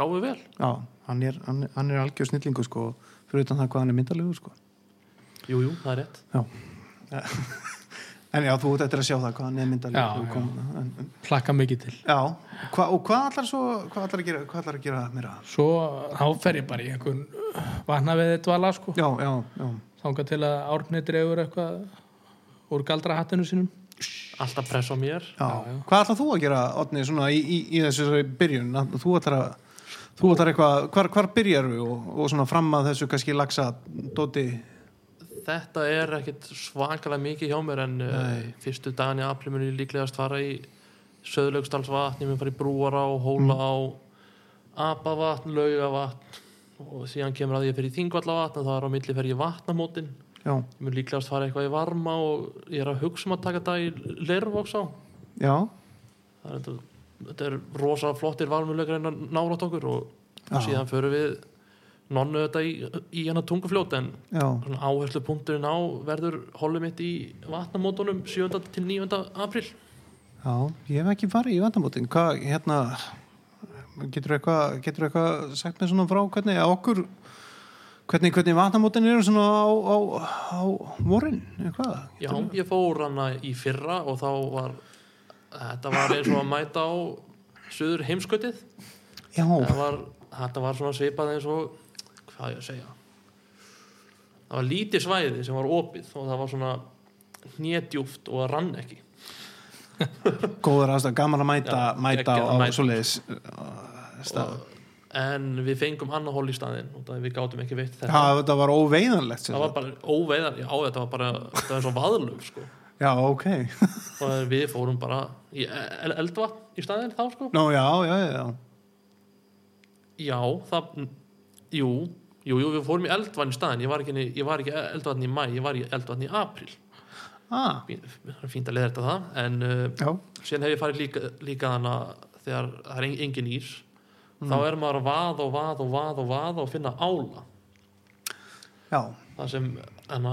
C: gáðu vel
A: já, hann er, hann, hann er algjör snillingu sko, fyrir utan það hvað hann er myndalegur sko,
C: jú, jú, það er rétt
A: já en já, þú ert eftir að sjá það hvað hann er
B: Já,
A: myndalegur
B: já.
A: já, en, en,
B: Plakka mikið til
A: já. Hva, og hvað ætlar svo hvað ætlar að gera, hvað ætlar að gera meira
B: Svo þá fer ég bara í einhvern vanna við þetta vala sko
A: já, já, já,
B: Þanga til að árni dregur eitthvað úr galdra hattinu sínum
C: alltaf press á mér
A: já. hvað ætlar þú að gera, Otni, svona í, í, í þessu byrjun, Að þú ætlar að þú ætlar eitthvað, hvar, hvar byrjar við og, og svona fram að þessu kannski lagsa dóti,
C: þetta er ekkit svakalega mikið hjá mér en uh, fyrstu dagan í apli mun ég líklegast fara í söðlaugstallsvatn, ég mun fara í brúara og hóla á
A: Mm.
C: apavatn, laugavatn og síðan kemur að ég fer í þingvallavatn og það er á milli fer ég í vatnamótin
A: já,
C: ég mun líklegast fara eitthvað í varma og ég er að hugsa um að taka þetta í lervoks á
A: já
C: það er þetta, þetta er rosa flottir varmuleikar en nálátt okkur og
A: Já.
C: síðan förum við nonnu þetta í, í hana tungufljót en
A: Já,
C: svona áherslu punkturinn á verður holum mitt í vatnamótunum 7. til 9. april
A: já, ég hef ekki farið í vandamótin Hvað, hérna getur eitthvað getur eitthvað sagt mér svona frá hvernig að okkur Hvernig, hvernig vatnamótin eru svona á, á, á vorin? eða Hvað?
C: Já, ég fór hana í fyrra og þá var þetta var eins og að mæta á suður heimskautið
A: Já,
C: þetta var, þetta var svona svipað eins og hvað á ég að segja það var lítið svæði sem var opið og það var svona hnédjúft og það rann ekki
A: góður aðstæð, gaman að mæta,
C: Já,
A: mæta
C: geggjað
A: á
C: að mæta.
A: svoleiðis uh, stað.
C: en við fengum annað hól í staðinn og það við gátum ekki veitt þetta
A: Já, þetta var óveiðanlegt sem
C: það var bara óveiðan, já þetta var bara það var svo vaðlug sko
A: sagt. Já, ok.
C: og við fórum bara í el- eldvatn í staðinn þá sko
A: Nú, já, já, já.
C: Já, það, jú, jú, jú, við fórum í eldvann í staðin, ég var ekki, inni- ég var ekki eldvann í mæ, ég var í eldvann í apríl.
A: Ah,
C: Fín- Það er fínt að leða þetta það, en uh,
A: já.
C: síðan hef ég farið líka, líka hana þegar það er en- engin ís, þá
A: Mm.
C: er maður að vaða og vaða og vaða og vaða og finna ála,
A: Já,
C: það sem, hana,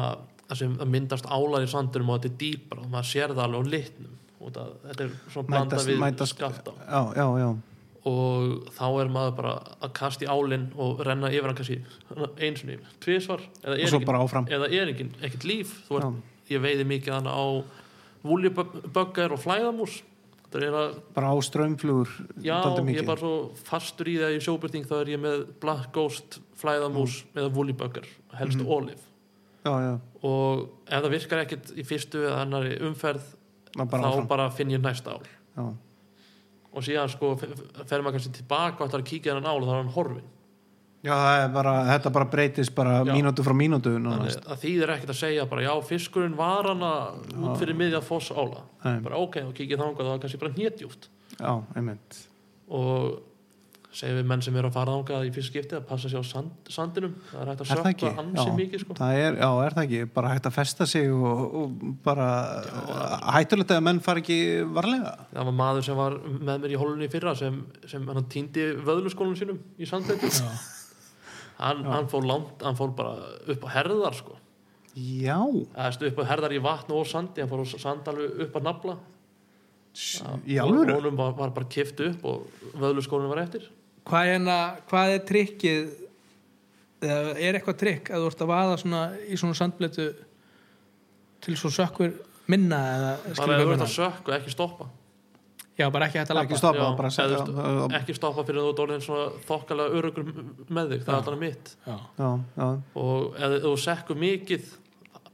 C: það sem myndast álar í sandunum og þetta er dýpra og maður sér það alveg á litnum. og Það, þetta er svona blanda
A: Mætast-
C: við
A: mætast-
C: skafta
A: já, já, já.
C: og þá er maður bara að kasta í álinn og renna yfir hann kannski einsunni, tvísvar eða
A: Og
C: er
A: svo
C: engin-
A: bara áfram.
C: eða er engin, ekkert líf þú ert, ég veiði mikið hann á vúljuböggar og flæðamús það er að,
A: Bara á strömmflugur.
C: já, ég er bara svo fastur í það í sjóbyrting þá er ég með black ghost, flæðamús
A: Mm.
C: eða vúljuböggar, helst
A: Mhm.
C: mm. olif
A: Já, já.
C: og ef það virkar ekkert í fyrstu eða annari umferð
A: Ná, bara
C: þá
A: áfram.
C: bara finn ég næsta ál
A: Já.
C: og síðan sko fer fer maður kannski tilbaka og ætlar að kíkja hann ál og þá er hann horfin
A: Já, það er bara, þetta bara breytist bara
C: Já.
A: mínútu frá mínútu.
C: Þannig
A: nánast.
C: að þýðir ekkert að segja bara já, fiskurinn var hana út fyrir miðja foss ála
A: Nei.
C: bara ok, þá kikið þangað, það var kannski bara hnétjúft
A: Já, einmitt.
C: og segjum við menn sem eru að fara þangað í fyrst skipti að passa sér á sand, sandinum það er hægt að
A: Er það
C: sökka
A: ekki?
C: ansi
A: Já.
C: mikið sko.
A: Það er, já, er það ekki, bara hægt að festa sig og, og bara hættulegt að menn fara ekki varlega
C: það var maður sem var með mér í holunni í fyrra sem, sem hann týndi vöðluskólanum sínum í sandleitum hann, hann fór langt, hann fór bara upp á herðar sko.
A: Já,
C: Eða, veistu, upp á herðar í vatn og sandi hann fór á sand alveg upp að nafla
A: s- í alvöru
C: honum var, var bara kift upp og vöðluskólanum var eftir
B: hvað, er na- hvað er trikkið eða er eitthvað trikk að þú ert að vaða svona, í svona sandbletu til svo sökkur minna eða
C: bara
B: skilur
C: ef þú
B: hvað
C: ert
B: minna
C: að sökka ekki stoppa
B: já, bara ekki hægt að
A: ekki
B: lappa
A: stoppa,
C: Já,
A: bara
C: eða
A: segja
C: þú
A: já, já,
C: ekki stoppa fyrir þú dólinn svona þokkalega örugur með þig, það er alltaf mitt
B: já.
A: já,
C: Eh.
A: já,
C: og ef þú sekkur mikið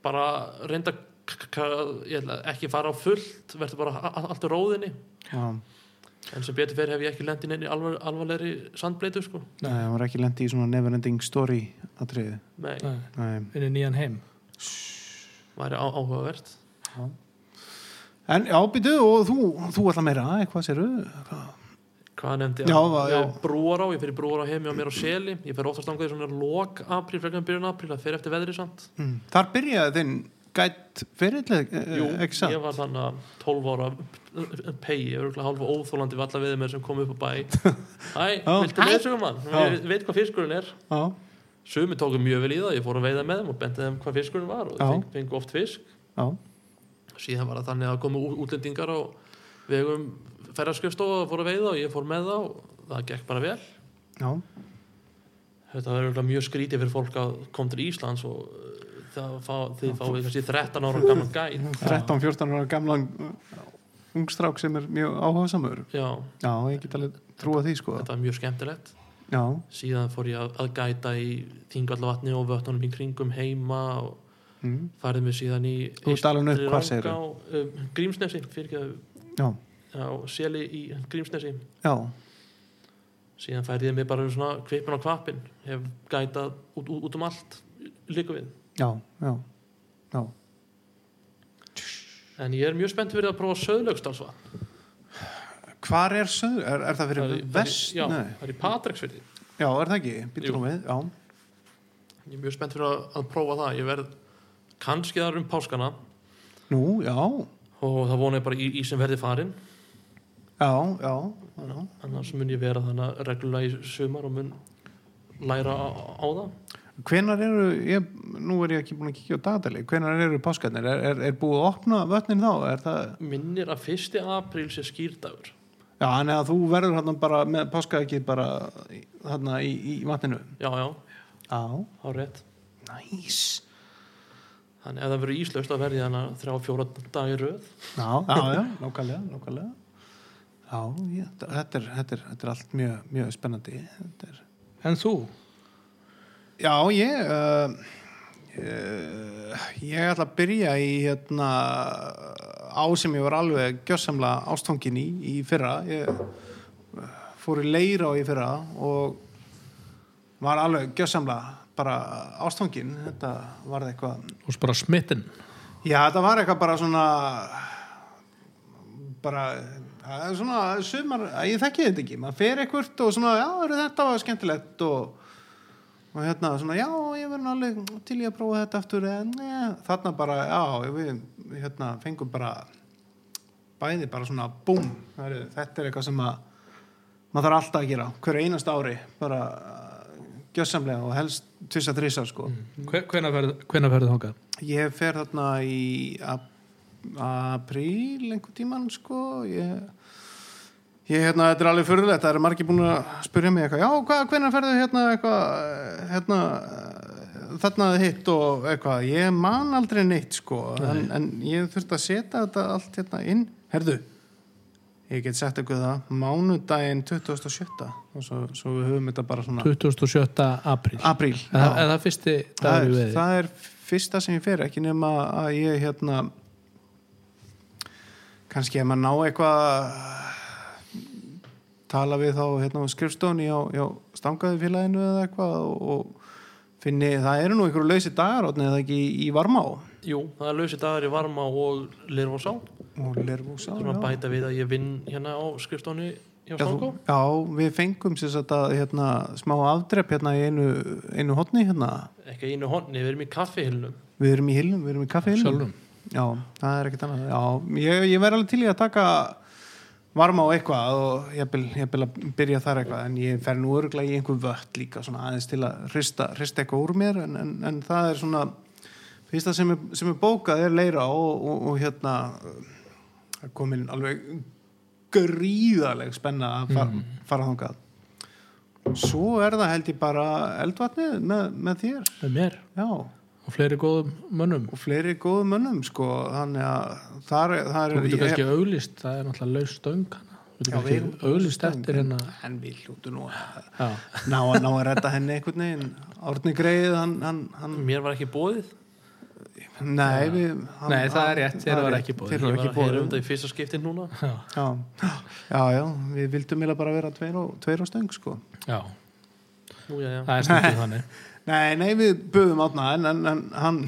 C: bara reynda k- k- ég ætla ekki fara á fullt verður bara a- a- allt í róðinni
A: já.
C: en sem betur fyrir hef ég ekki lendin inn í alvar, alvarlegri sandbleitu sko
A: Nei, hún var ekki lendi í svona neverending story atriði
C: Nei,
B: Nei,
A: Nei.
B: inn í nýjan heim
C: væri á, áhugavert
A: En já, býtu, og þú, þú ætla meira eitthvað sérðu Hvað?
C: hvað nefndi
A: Já, það- já.
C: brúar á, ég fyrir brúar á heim hjá mér á seli ég fyrir oftast langað í svona lok apríl frekar en byrjun apríl, það fyrir eftir veðri samt
A: Mm. Þar byrjaði þinn gætt fyrirlega,
C: Jú,
A: Eh, ekki satt?
C: ég var þannig að 12 ára pegi, örgulega hálfa óþólandi valla við mér sem kom upp á bæ Æ,
A: Já.
C: viltu leiðsögum hann?
A: Já.
C: Ég veit hvað fiskurinn er
A: Já,
C: Sumi tóku mjög vel í það, ég fór að veiða með þeim og benti þeim hvað fiskurinn var og
A: Já.
C: feng, fengu oft fisk
A: já,
C: síðan var það þannig að komu ú- útlendingar á vegum ferðarskjöfstofa og fór að veiða og ég fór með þá og það gekk bara vel
A: já
C: Þetta var örgulega mjög skrítið fyrir fólk að kom til Íslands og uh, það fá, þið fáið kannski 13 ára gaman gæn
A: 13-14 ára gamlan ungstrák sem er mjög áhugasamur
C: Já,
A: Já, ég get alveg trúa því sko
C: þetta var mjög skemmtilegt
A: Já,
C: síðan fór ég að- að gæta í Þingallavatni og vötnunum í kringum heima og
A: mm.
C: farið mig síðan í
A: Þú ert alinn upp, hvar segirðu?
C: á um, Grímsnesi fyrir ekki að
A: já,
C: á Seli í Grímsnesi
A: já
C: síðan færið ég mig bara um svona kvipin á kvapin hef gætað út, út, út um allt líka við
A: Já, já, já
C: en ég er mjög spennt fyrir að prófa söðlaugsdalsvatn
A: Hvar er söður? Er, er það fyrir
C: Það er- það er í-
A: vest?
C: Já,
A: Nei.
C: það er í Patræksfyrði
A: já, er það ekki?
C: Jú.
A: Býtum nú við, já
C: ég er mjög spennt fyrir að, að prófa það ég verð kannski þar um páskana
A: Nú, já,
C: og það vona ég bara í, í sem verði farin
A: já, já, já.
C: annars mun ég vera þannig reglulega í sumar og mun læra á, á það
A: Hvenar eru, ég, nú er ég ekki búin að kíkja á dagatæli Hvenar eru páskarnir? Er, er, er búið að opna vötnin þá? Er það,
C: minnir að 1. apríl sé skýrdagur
A: já, en eða þú verður hann bara með páskaegið bara í- þarna í, í vatninu
C: já, já,
A: Já,
C: á rétt
A: næs
C: þannig ef það verður íslöst að verði þannig þrjá fjóra dagi röð
A: Já, já, já, nákvæmlega, nákvæmlega Já, ég, þetta, er, þetta, er, þetta er allt mjög, mjög spennandi Þetta er
B: En þú?
A: Já, ég uh, uh, ég ætla að byrja í hérna á sem ég var alveg gjössamlega ástfangin í, í fyrra ég uh, fór í leira á í fyrra og var alveg gjössamlega bara ástfangin þetta var eitthvað
B: Og bara smitten
C: Mm.
A: Já, þetta var eitthvað bara svona bara það er svona sumar, ég þekki þetta ekki maður fer eitthvað og svona, já, heyrðu, þetta var skemmtilegt og, og hérna svona, já, ég verður alveg til ég að prófa þetta aftur en ja, þarna bara, já, við hérna, fengum bara bæði bara svona, búm heyrðu, þetta er eitthvað sem að maður þarf alltaf að gera, hverju einast ári bara uh, gjössamlega og helst tvisa þrísar sko
B: Hvenær ferðu, hvenær ferðu þangað?
A: Ég fer þarna í ap apríl einhvern tíman sko ég, ég hérna, þetta er alveg fyrirlegt það eru margir búin að spyrja mig eitthvað já, hvað, hvernig ferðu hérna eitthvað hérna, þarna hitt og eitthvað, ég man aldrei neitt sko, en, en ég þurfti að setja þetta allt hérna inn, herðu ég get sett eitthvað það mánudaginn 27. og svo, svo við höfum þetta bara svona
B: 27. apríl
A: apríl,
B: Eða eða fyrsti
A: Ah, það
B: dagur
A: er,
B: í veði
A: það er fyrsta sem ég fer ekki nema að ég hérna kannski ef maður ná eitthvað tala við þá hérna á skrifstofni á, á stangaði félaginu eða eitthvað og, og finni, það eru nú einhverju lausi dagar átni eða ekki í, í varmá
C: jú, það er lausir dagar í varma og lirf og sá
A: og lervúsá
C: svona bæta við að ég vinn hérna á skrifstofni hjá
A: Já, þú,
C: Stango
A: já, við fengum sér þetta hérna, smá afdrepp hérna í einu, einu hotni hérna.
C: ekki einu honni, við erum í kaffihilnum
A: Við erum í hilnum, við erum í kaffihilnum.
B: Sjálfum.
A: Já, það er ekkert annað. Já, ég, ég verð alveg til í að taka varma á eitthvað og ég vil, ég vil að byrja þar eitthvað en ég fer nú örgla í einhver vött líka svona aðeins til að hrista, hrista eitthvað úr mér en, en, en það er svona fyrsta sem er, sem er bókað er leira og, og, og hérna það er komin alveg gríðaleg spenna að fara, fara þangað svo er það held ég bara eldvatnið með, með þér
B: með mér
A: já
B: og fleiri góðum mönnum
A: og fleiri góðu mönnum sko, þannig að þar, þar
B: Þú
A: er
B: getur
A: ég,
B: kannski auglist, það er náttúrulega laus stöng hana. Þú
A: Já,
B: getur
A: við erum
B: kannski auglist eftir hérna
A: en við hljótu nú að
B: Já,
A: ná, að- ná að redda henni einhvern veginn Árni Greið, hann, hann, hann
C: mér var ekki bóðið
A: nei, við, hann,
B: Nei, það er
A: hann-
B: rétt, þér
A: það er
B: var
A: rétt,
B: ekki boðið.
A: þér
C: ég
A: var
C: var
A: ekki
C: að heyra um
A: bóðið
C: þetta í fyrsta skiptin núna
B: já,
A: já, já, já, við vildum eiginlega bara vera tveir og, tveir og stöng sko.
B: já,
C: Nú, já, já.
B: það er stundið þannig
A: nei, nei, við buðum átna en, en, en hann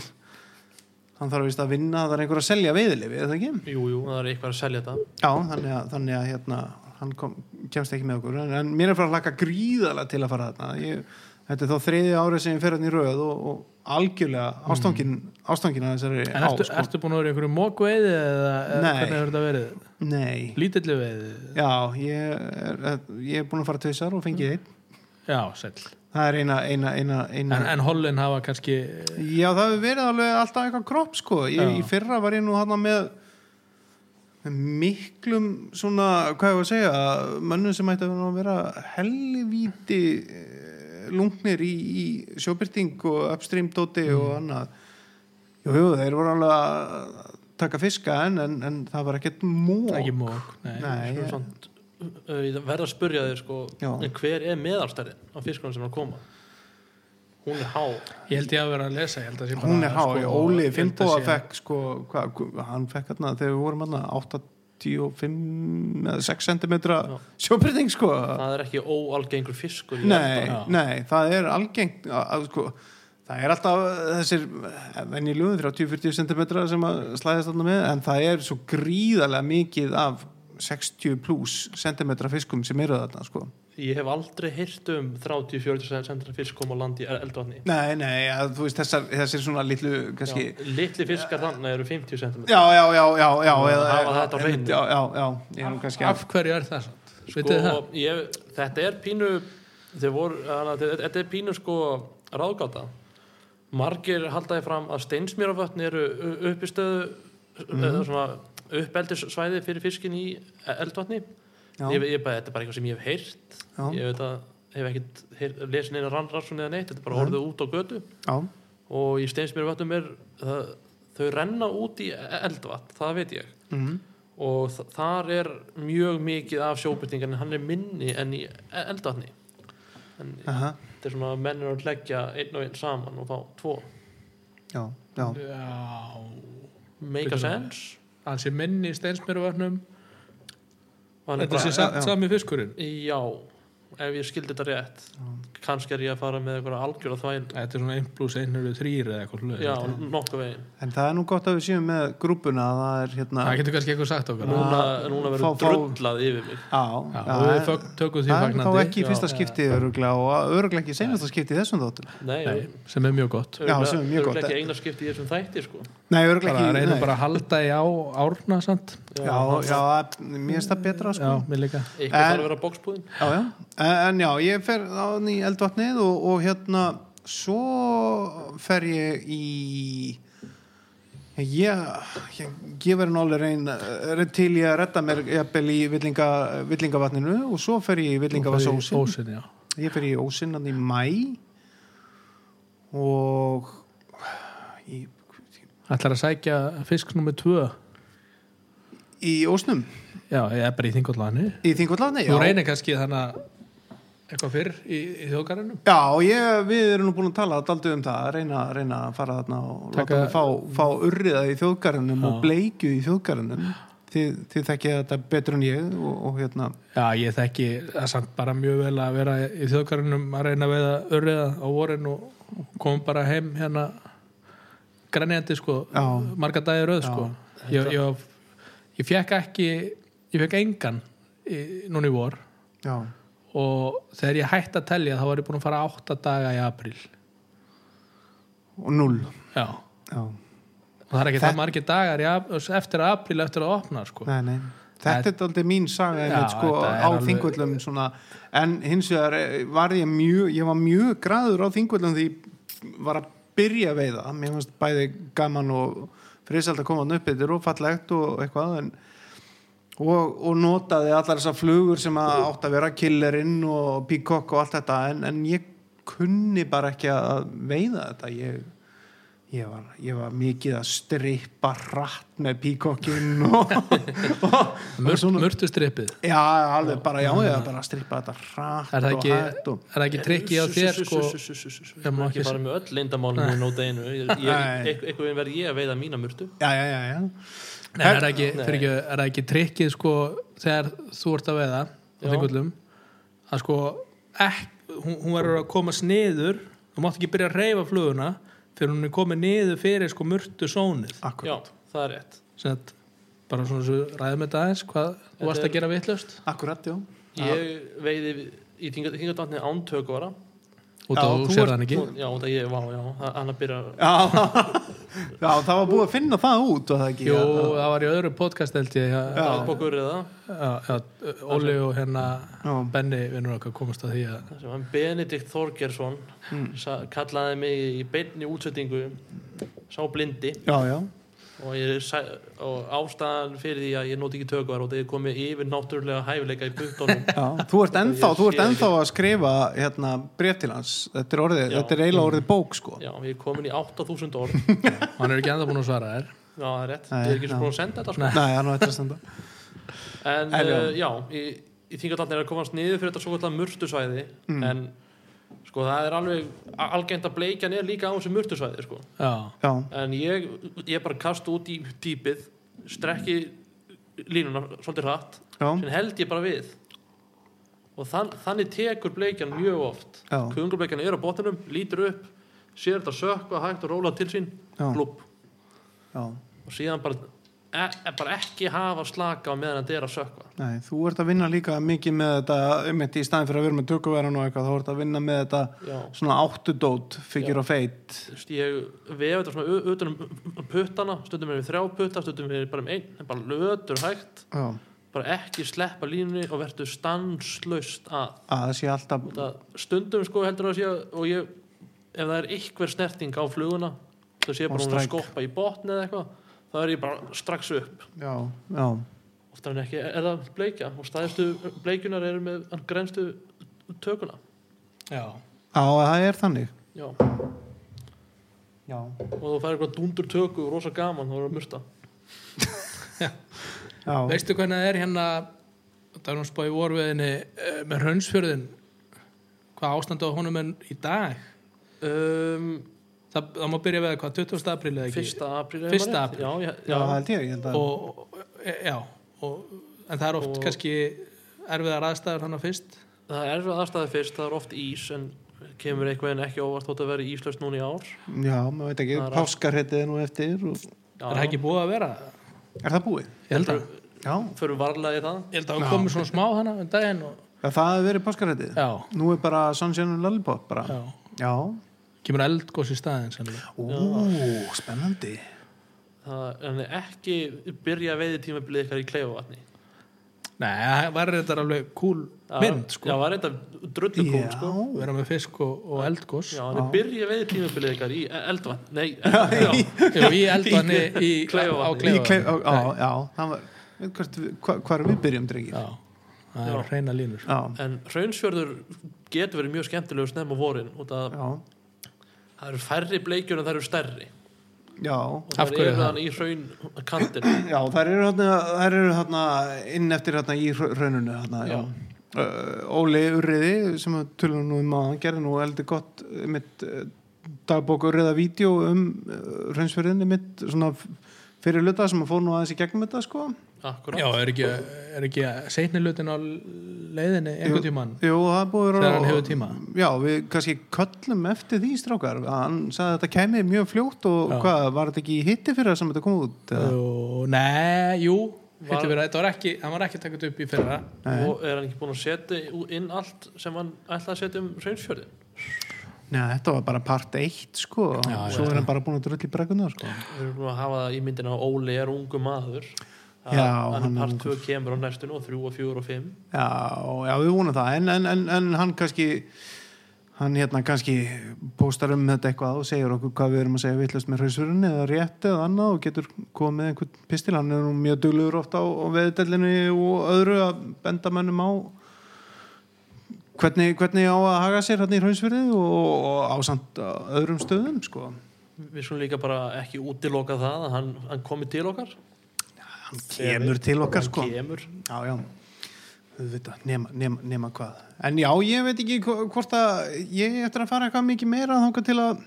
A: hann þarf vist að vinna, það er einhver að selja veiðlifi eða ekki?
C: Jú, jú, það er eitthvað að selja þetta
A: Já, þannig að, þannig að hérna, hann kom, kemst ekki með okkur en, en mér er frá að laka gríðalega til að fara þarna ég, þetta er þá þriði árið sem ég fer hérna í röð og, og algjörlega ástangin, ástangin að þessari
B: Mm. En ertu,
A: á,
B: ertu búin að vera í einhverju mókveiði eða, eða
A: sko. Nei.
B: hvernig hefur þetta verið?
A: sko. Nei,
B: Lítilli veiði?
A: já, ég er, ég er búin að fara tvisar og fengið einn
B: Já, sæll
A: það er eina, eina, eina, eina
B: Mm. En, en hollin hafa kannski
A: Já, það hefur verið alveg alltaf eitthvað kropp sko. Ég,
B: Já.
A: í fyrra var ég nú hann með með miklum svona, hvað ég var að segja mönnum sem ætti að vera helvíti eh, lungnir í, í sjóbyrting og upstream dóti
B: Mm.
A: og annað Jú, jú, þeir voru alveg að taka fiska en, en, en það var ekkert mók
B: ekki mók Nei,
A: Nei,
C: Svo
A: ég,
C: samt, uh, ég verð að spyrja þér sko,
A: Já.
C: en hver er meðalstærðin á fiskunum sem er að koma hún er há
B: Ég held ég að vera að lesa ég held að sé bara,
A: hún er há,
B: sko,
A: sko, Óli
B: ég held að
A: Finnbóa
B: sé-
A: fekk sko, hva, hann fekk hérna þegar við vorum hérna 85 eða 6 cm sjóbyrting sko
C: það er ekki óalgengur fiskur í
A: nei,
B: Já.
A: nei, það er algengt að, að, sko, það er alltaf þessir venjulugum 30-40 cm sem að slæðast þarna með en það er svo gríðarlega mikið af 60 plus cm fiskum sem eru þarna sko
C: elda. ég hef aldrei heyrt um 30-40 centra fisk koma á land í eldvatni
A: nei, nei, að, þú veist þessar, þessir svona litlu kannski
C: litli fiskar þannig eru 50 cm
A: Já, já, já, já, já eða-
C: hafa þetta á
A: einmitt,
C: hreinu.
A: Já, já, já, ég er nú kannski
B: Af hverju er það samt? Vitið þið það?
C: sko, ég, þetta er pínu þeir voru, hana, þetta þetta er pínu sko ráðgáta margir haldaði fram að steinsmjörafötn eru u- uppistöðu
A: Mhm.
C: eða svona uppeldissvæði fyrir fiskin í eldvatni
A: Já.
C: ég, ég, bara, þetta er bara eitthvað sem ég hef heyrt
A: Já.
C: ég veit að hef ekkit heyr- lesið neina rannransun eða neitt, þetta er bara
A: Nei.
C: orðið út á götu
A: já,
C: og í steinsmjöru vötnum er það, þau renna út í e- eldvatn, það veit ég
A: mhm,
C: og þ- þar er mjög mikið af sjóbyrtingar en hann er minni enn í eldvatni en
A: aha,
C: þetta er svona að menn eru að leggja einn og einn saman og fá tvo
A: já, já,
B: Já,
C: make a
B: Bíddu,
C: sense
B: hans er minni í steinsmyruvötnum
C: Var hann
B: Þetta
C: bara-
B: sé samt
A: já, já.
B: sami fiskurinn
C: já, ef ég skildi þetta rétt kannski er ég að fara með einhverja algjörða þvæl
B: Þetta er svona 1 pluss 1 eru 3 eða eitthvað svoleiðis.
C: já, nokkuð veginn
A: en það er nú gott að við séum með grúpuna að það er hérna
B: Það getur kannski eitthvað sagt okkar Já,
C: núna,
A: Ah,
C: núna
A: fá-
C: verður
A: fá-
C: drullað yfir mig
A: á,
B: og við fök- tökum því
A: það er þá
B: fagnandi
A: ekki í
C: Já.
A: fyrsta skipti öruglega og öruglega ekki í seinasta skipti í þessum þáttum
C: nei,
B: Nei, sem er mjög gott
A: Já, sem er mjög gott.
C: ekki eina skipti í þessum þætti sko.
A: nei, öruglega
B: bara
A: ekki
B: reynum
A: nei.
B: bara að halda í á árna samt
A: já, já, að- mér finnst það betra sko.
B: Já, mér líka
C: eitthvað
A: En-
C: þarf að vera bókspúðin
A: já, já, en já, ég fer á ný eldvatnið og, og hérna svo fer ég í ég ég, ég verður nálega reyn reyn til ég að redda mér jafnvel í villinga, villingavatninu og svo fer ég í villingavatnsósin
B: Ósin, já
A: ég fer í ósin hann í mæ og í,
B: Ætlar að sækja fisk nummer 2
A: í ósnum
B: Já, eða bara í þingotlaðinu
A: í þingvallatni,
B: Þú
A: já
B: reynir kannski þannig eitthvað fyrr í, í þjóðgarinu
A: Já, ég, við erum nú búin að tala daldið um það, reyna, reyna að fara þarna og
B: Taka-
A: láta mig fá, fá urriða í þjóðgarðinum og bleikju í þjóðgarðinum þið, þið þekkið þetta betur en ég og, og hérna,
B: Já, ég þekki það samt bara mjög vel að vera í þjóðgarðinum að reyna að veiða örriða á vorin og komum bara heim hérna grænjandi sko,
A: Já.
B: marga dagir röð sko. ég, ég, ég fekk ekki ég fekk engan í, núna í vor
A: já,
B: og þegar ég hætti að telja þá var ég búin að fara átta daga í april
A: og null
B: Já,
A: já,
B: og það er ekki það margir dagar í, ap- eftir að april eftir að opna sko.
A: nei, nei Þetta er aldrei mín saga
B: Já,
A: einmitt, sko,
B: þetta er
A: á
B: alveg-
A: þingvöllum svona, en hins vegar eh, var ég mjög, ég var mjög graður á þingvöllum því ég var að byrja að veiða, mér fannst bæði gaman og friðsælt að koma þarna upp þetta er ófallegt og eitthvað en og, og notaði allar þessar flugur sem að átt að vera killerinn og peacock og allt þetta en, en ég kunni bara ekki að veiða þetta ég, ég, var, ég var mikið að strippa hratt með peacockinn og, og, og
B: Murt, Murtustrippið
A: já, alveg bara já, ég var bara að strippa þetta hratt
B: Er það ekki,
A: og hætt og
B: er það ekki trikki á þér sko
C: ég má ekki fara með öll lindamálinu nót einu Ég- ég-
A: Nei.
C: einhver- einhvern veginn verð ég að veiða mína murtu
A: já, já, já, já,
B: Nei, er það ekki, fyrir ekki, er það ekki trikkið sko þegar þú ert að veiða á
C: Já.
B: þingullum að sko ek, hún, hún verður að komast niður þú mátt ekki byrja að reyfa fluguna fyrir hún er komið niður fyrir sko murtu sónið
A: akkur
C: já, það er rétt
B: sem að bara svona svo ræðum þetta aðeins hvað þú varst
C: er-
B: að gera vittlust
A: akkurat, já
C: ég veiði í þingatvatni ántökvara
B: og
A: Já,
B: þá
A: þú
B: sér
A: ert-
B: það ekki
C: já, það ég, vá, já, hann að byrja
A: já, já, það var búið að finna það út var það ekki,
B: Jú,
A: að-
B: það var í öðru podcast held ég að-
C: dagbókur eða
B: að- að Óli og hérna
A: Já.
B: Benni vinnur okkar komast að því að
C: það sem hann Benedikt Þorgersson sa, kallaði mig í beinni útsettingu sá blindi
A: já, já,
C: og, ég, sa- og ástæðan fyrir því að ég noti ekki tökvara og það er komið yfir náttúrulega hæfileika í puttunum
A: Já, þú ert ennþá,
C: Ég
A: þú ert
C: sé
A: ennþá að skrifa hérna, bref til hans, þetta er orðið
C: Já.
A: þetta er eiginlega orðið bók sko
C: já, ég er komin í 8000 orð
B: hann er ekki enda búin að svara þér
C: já, það er rétt,
A: Nei,
C: ég er ekki
A: já.
C: svo búin að senda þetta sko.
A: Nei, það er nú eftir að standa
C: En
A: En já.
C: uh, já, í, í þingatalni er að komast niður fyrir þetta svo kallar murtusvæði
A: Mm.
C: en sko það er alveg a- algengt að bleikjan er líka á þessu murtusvæði sko.
B: Já,
A: Já,
C: en ég, ég bara kasta út í dýpið strekki línuna svolítið hratt
A: já,
C: sem held ég bara við og þann, þannig tekur bleikjan mjög oft
A: Já.
C: kungarbleikjan er á botinum, lítur upp sér þetta sökva hægt og róla til sín
A: Já.
C: glúpp
A: já
C: og síðan bara, e, e, bara ekki hafa slaka á meðan þetta er að sökva
A: Nei, þú ert að vinna líka mikið með þetta einmitt í staðin fyrir að vera með tökuveran og eitthvað þá ert að vinna með þetta
C: Já.
A: svona áttudót figure of eight
C: Þú veist, ég vefa þetta svona u- utan um puttana stundum er við þrjá putta, stundum er við bara um einn en bara lötur hægt
A: Já,
C: bara ekki sleppa línunni og verður stanslaust að
A: að það sé alltaf
C: það, stundum sko heldur það að sé að- og ég, ef það er einhver snerting á fluguna það sé
A: Og
C: bara hún er að
A: strike.
C: skoppa í botni eða eitthvað þá er ég bara strax upp
A: Já, já,
C: oftar en ekki er það bleikja og staðistu bleikjunar eru með grenstu tökuna
B: já,
A: Já, það er þannig
C: já.
A: Já,
C: og þú fær eitthvað dúndur tökur rosa gaman, þá er að murta
A: já,
B: veistu hvernig það er hérna það er nú spáði vorveðinni eh, með hraunsfjörðin hvað ástandu á honum en í dag
C: um,
B: það, það má byrja við hvað, 20. apríl eða ekki
C: fyrsta apríl
B: Fyrsta apríl.
C: apríl já, já,
A: já, það
C: já,
A: held ég, ég held að
B: og, og- e- já og, en það er oft
C: Og-
B: kannski erfiðar aðstæður hann fyrst
C: það er aðstæði fyrst það er oft ís en kemur einhvern veginn ekki óvart þótt að vera íslöst núna í ár
A: Já, maður veit ekki,
C: Það er allt.
A: páskarhetið er nú eftir og...
C: já,
B: er það ekki búið að vera
A: Er það búið?
B: ég held að,
A: Já,
C: fyrir varlega í það
B: ég held að hann komið svona smá hana um daginn og,
A: það það hefur verið páskarhetið
B: já,
A: Nú er bara Sunshine and Lollipop bara
B: já
A: Já,
B: kemur eldgós í staðin sennilega.
A: ú, spennandi
C: það en ekki byrja veiði tímabilið ykkar í kleifavatni
B: nei, það var þetta alveg cool mynd
C: já,
B: sko,
C: var þetta drullu kúl sko
B: vera með fisk og, og eldgós
C: Já, hann er byrja veið tímabilið ykkar í eldvann Nei, já,
B: Jú, í eldvanni í,
C: Í
B: á
C: Kleifarvatni.
A: Í
B: kleifavatni
A: klef, á, á, já, það var við hvert, hva, Hvar við byrjum, drengir?
B: já, það er
C: Já.
B: hreina línur
A: Já,
C: en hraunsfjörður getur verið mjög skemmtilegur snemma á vorin út að
A: já,
C: það eru færri bleikjur en það eru stærri
A: já
C: og
B: Af
C: það
B: hverju
C: eru
B: það?
C: þann í hraun kantin
A: Já, þær eru þarna, þær eru þarna inn eftir þarna í hra- hrauninu þarna, já.
C: Já.
A: Uh, Óli Urriði sem við tölum nú um að hann gerði nú eldi gott uh, mitt uh, dagbók Urriða vídeo um uh, hraunsfjörðinni mitt svona f- fyrir luta sem að fór nú aðeins í gegnum þetta sko
C: Akkurat,
B: já, er ekki, er ekki seinni lutin á leiðinni
A: Jú,
B: einhvern tímann
A: Jú, það er búið að vera-
B: Þegar hann hefur tíma.
A: Já, við kannski köllum eftir því strákar að hann sagði að þetta kæmi mjög fljótt og
B: Já.
A: hvað, var þetta ekki í hitti fyrir það sem þetta kom út? eða?
B: Jú, nei, jú
C: Var-
B: var... Vera, þetta var ekki, það var ekki takkt upp í fyrra
C: og er hann ekki búin að setja ú- inn allt sem hann ætlaði að setja um hreinsfjörðin
A: Nei, þetta var bara part 1 sko og
B: Já,
A: svo
B: já.
A: er hann bara búin að drull í brekkuna sko
C: við erum búin að hafa það í myndina að Óli er ungu maður
A: Já,
C: hann
A: hann
C: er
A: er
C: part
A: ungur.
C: 2 kemur á næstunum og 3 og 4 og 5
A: Já, já, við vonum það en, en, en, en hann kannski hann hérna kannski póstar um þetta eitthvað og segir okkur hvað við erum að segja vittlust með hrausverunni eða rétt eða annað og getur komið með einhvern pistil hann er nú mjög duglegur oft á, á veðdellinu og öðru að benda mönnum á hvernig, hvernig á að haga sér hann í hrausverði og, og á samt öðrum stöðum sko
C: við skulum líka bara ekki útiloka það að hann, hann komi til okkar
A: hann kemur til okkar
C: hann
A: sko
C: kemur
A: Já, já, auðvitað, nema, nema, nema hvað. En já, ég veit ekki hvo- hvort að ég eftir að fara eitthvað mikið meira þangað til að,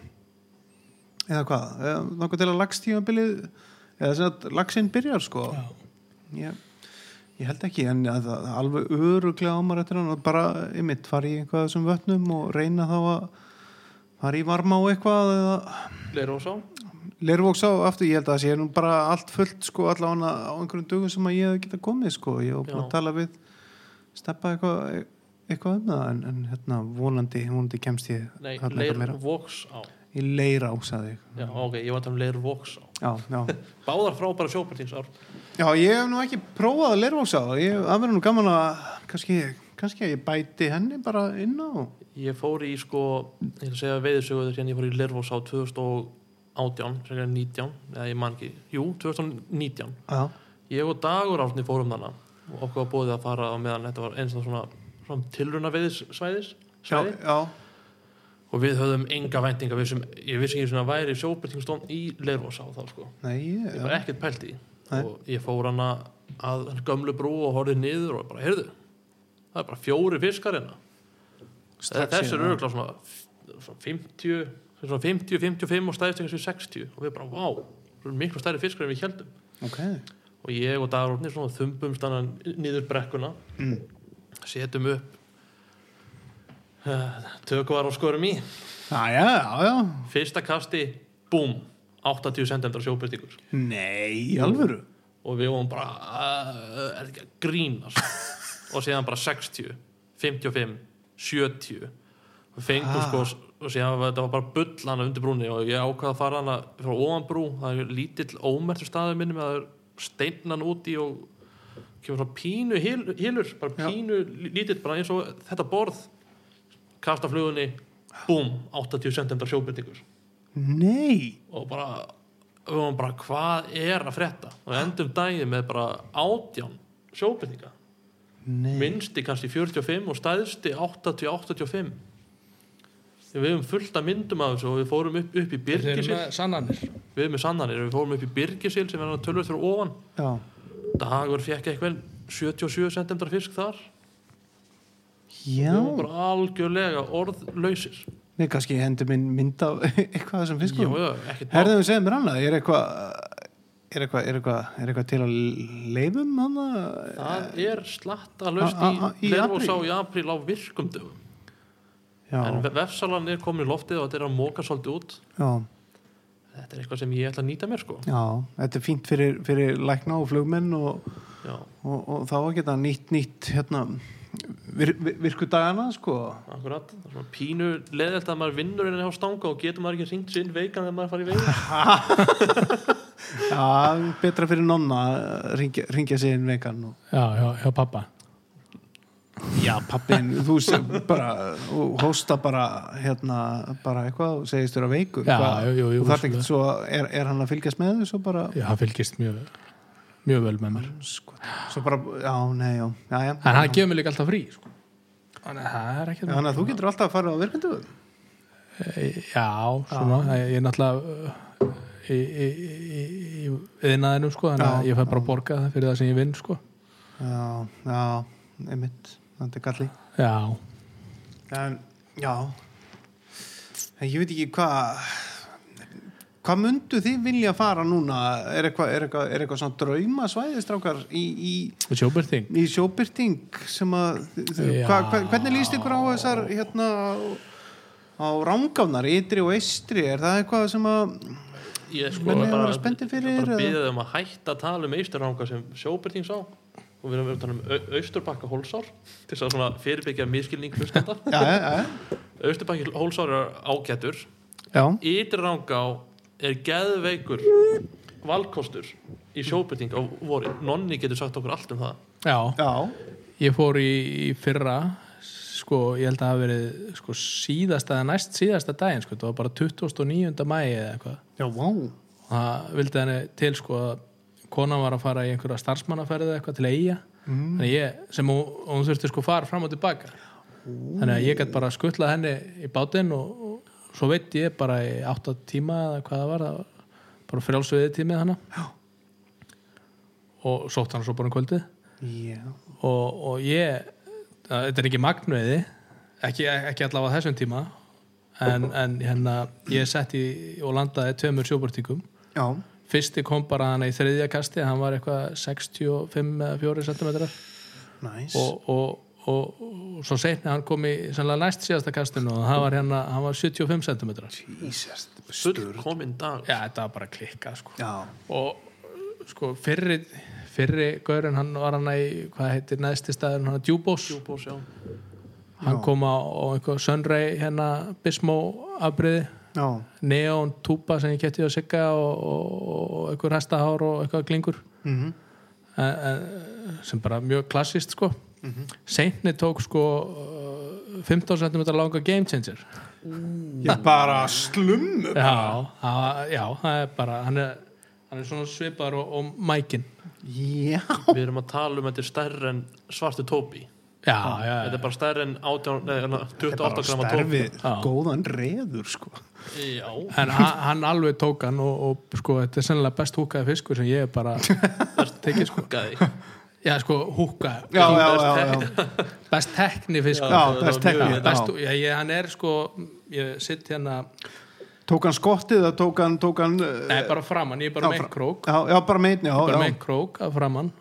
A: eða hvað, eða þangað til að lagstífabilið, eða sem að lagsinn byrjar sko. Ég, ég held ekki, en að, að, alveg öruglega ámar eftir hann og bara, ymmit, fara í eitthvað sem vötnum og reyna þá að fara í varma og eitthvað eða
C: Leirós á
A: Leirvóks á aftur, ég held að það sé nú bara allt fullt sko allavega á einhverjum dögum sem að ég hef geta komið sko, ég hef búin
C: Já.
A: að tala við steppa eitthvað eitthvað um það en, en hérna vonandi, vonandi kemst ég
C: Nei,
A: þarna eitthvað meira. Mm.
C: Leirvóks á
A: í leira ásaði
C: Já, ok, ég var að tala um Leirvóks á
A: já, já.
C: Báðar frábæra sjópartinsár
A: já, ég hef nú ekki prófað leirvóks á ég, það verður nú gaman að kannski, kannski að ég bæti henni bara inn á
C: Ég fór í sko, ég ætla að segja veiðisöguður hérna, ég fór í Lervós á 2018, sem er 19, eða ég man ekki, jú, 2019.
A: já,
C: Ég og Dagur Árni fórum þarna og okkur var bóðið að fara á meðan þetta var eins og svona, svona tilruna veiðisvæðis
A: já,
C: svæði.
A: já,
C: og við höfðum enga væntinga, við sem, ég vissi ekki svona væri sjóbyrtingstón í Lervós á þá sko.
A: nei, ég,
C: Ég
A: já.
C: var ekkert pælt í
A: Nei.
C: og ég fór hana að gömlu brú og horfið niður og bara, heyrðu, það er bara fjóri fiskar hérna.
A: Strax hérna.
C: Þessi
A: síðan,
C: eru örgulega svona, svona 50 svona 50, 55 og stæðist einhversu 60 og við bara, vá, það eru miklu stærri fiskar en við heldum
A: ok,
C: og ég og Dagrófni svona þumbumst hann niður brekkuna
A: Mm.
C: setjum upp uh, tökvar og skorum í
A: já, já, já, já
C: fyrsta kasti, búm 80 cm sjóbyrtingur
A: nei, í alvöru
C: og við vorum bara uh, er ekki að grínast og síðan bara 60 55, 70 og fengum
A: Ah.
C: sko og síðan var þetta var bara bull hana undir brúni og ég ákvaða að fara hana frá ofan brú það er lítill ómertur staður minni með það er steinnan úti og kemur svona pínu hil- hilur bara
A: Já.
C: pínu lí- lítill, bara eins og þetta borð kasta flugunni, búm 80 cm sjóbyrtingur
A: nei,
C: og bara við varum bara hvað er að frétta og við endum dagið með bara átján sjóbyrninga
A: nei
C: minnsti kannski 45 og stæðsti 80-85 Við höfum fullt að myndum af þessu og við fórum upp, upp í
B: Þeir eru
C: Byrgisil
B: með sannanir
C: Við höfum með sannanir, við fórum upp í Byrgisil sem er tölvöld fyrir ofan
A: já,
C: Dagur fekk eitthvað 77 cm fisk þar
A: já.
C: Við vorum bara algjörlega orðlausir
A: við kannski hendum inn mynd af eitthvað af þessum
C: Já,
A: fiskum
C: já, ekkert mál.
A: herðum við segja mér annað, er eitthvað er eitthvað, er eitthvað, er eitthvað til að leifum hann
C: Það er slatta
A: A- a- a-
C: laust
A: í
C: í Lervosá
A: apríl?
C: í apríl á virkum dögum
A: já,
C: En ve- vefsalan er komin í loftið og þetta er að móka svolítið út
A: já,
C: Þetta er eitthvað sem ég ætla að nýta mér sko
A: já þetta er fínt fyrir, fyrir lækna og flugmenn og,
C: Já,
A: og, og þá að geta nýtt, nýtt hérna, vir, vir, virku dagana sko,
C: akkurat Það er svona pínu leðilt að maður vinnur inn á stanga og getur maður ekki hringt sér inn veikan þegar maður farið í veikan
A: já, betra fyrir nonna að ringja, ringja sig inn vegan og
B: Já, já, já, pappa
A: Já, pappin, þú sem bara og hósta bara hérna, bara eitthvað og segist þér að veiku
B: Já, jú, jú, jú,
A: og það er
B: vissulega.
A: ekkert svo, er, er hann að fylgjast með þessu bara,
B: Já, það fylgist mjög, mjög vel með mér
A: sko, svo bara já, nei, já, já, já
B: En hann gefur mér líka alltaf frí sko. Þannig að það er ekkert
A: þannig að þú getur alltaf að fara á virkundu
B: Já, svona, ég er náttúrulega uh, í, í, í, í yðnaðinum sko, þannig að
A: Já,
B: ég fæ bara að borga það fyrir það sem ég vinn sko.
A: já, já, einmitt þetta er galli
B: Já,
A: en, já en ég veit ekki hvað hvað mundu þið vilja fara núna er eitthvað, er eitthvað, er eitthvað svona draumasvæðistrákar í, í
B: og sjóbyrting
A: í sjóbyrting sem að
B: Já.
A: hva, hva, hvernig líst ykkur á þessar hérna á rángafnar, ytri og eistri er það eitthvað sem að
C: Ég sko
A: Menn eiga að
C: bara,
A: vera spenntir fyrir
C: ég bara
A: eða?
C: byrjaði um að hætta að tala um eisturranga sem sjóbyrting sá og við erum að tala um au- austurbakka hólsár til þess að svona fyrirbyggja miskilning hlustanda
A: já, já, já,
C: austurbakki hólsár er ágætur
A: já,
C: Ytri Rangá er geðveikur valkostur í sjóbyrting á vorin. Nonni getur sagt okkur allt um það.
B: Já,
A: já.
B: ég fór í, í fyrra sko, ég held að það hafi verið sko, síðasta, eða næst síðasta daginn sko, það var bara 29. mæi eða eitthvað
A: já vá.
B: og það vildi henni til sko að konan var að fara í einhverja starfsmannaferði eða eitthvað til eiga mm. ég, sem hún, hún þurfti sko að fara fram og tilbaka þannig að ég gætt bara skuttlað henni í bátinn og, og svo veit ég bara í 8 tíma eða hvað það var, það var bara frjálsviði tímið hana Já. og sótt hann svo bara um kvöldið
A: já,
B: og, og ég þetta er ekki magnuði ekki, ekki allavega á þessum tíma en, en hérna ég sett í og landaði tveimur sjóbortingum
A: já,
B: fyrsti kom bara hann í þriðja kasti hann var eitthvað 65 eða 4 cm og,
A: næs
B: og, og, og, svo seinni hann kom í sannlega næst síðasta kastinu og hann var hérna hann var 75 cm já,
A: Jesus,
C: Full
A: sturg
C: kominn dag.
B: þetta var bara klikkað sko.
A: já,
B: og sko fyrri fyrri gaurinn hann var hann í hvað heitir næsti staður hann að djúbós
C: Djúbós, já.
B: hann kom á, á einhver Sunray hérna Bismó afbriði
A: já,
B: neon túpa sem ég kætti á sigga og, og, og einhver hestahár og eitthvað klingur
A: mhm,
B: en, en, sem bara mjög klassist sko seinni tók sko uh, 15 cm langa game changer
A: ég bara slummu
B: já, á, já það er bara hann er, hann er svona svipar og, og mækin
A: já,
C: Við erum að tala um að þetta er stærri en svartu tópi.
B: já, já, já,
C: Þetta er bara stærri en 18, nei, hérna,
A: þetta er bara
C: 28 grama tópi.
A: starfi
B: Já.
A: góðan reður sko
C: Já.
B: en hann, hann alveg tók hann og, og sko þetta er sennilega best húkaði fiskur sem ég er bara tekið sko
C: Gæði.
B: Já, sko, húka
A: já, já, já, já,
B: Best tekni fisk
A: já,
B: já,
A: best teknið
B: best,
A: já.
B: já, ég, hann er sko ég sitt hérna,
A: tók hann skottið eða tók hann, tók hann eh,
B: nei, bara framann ég er bara
A: já,
B: með
A: fra-
B: einn krók,
A: já, já, bara meitni, já,
B: bara
A: já
B: með einn krók að framann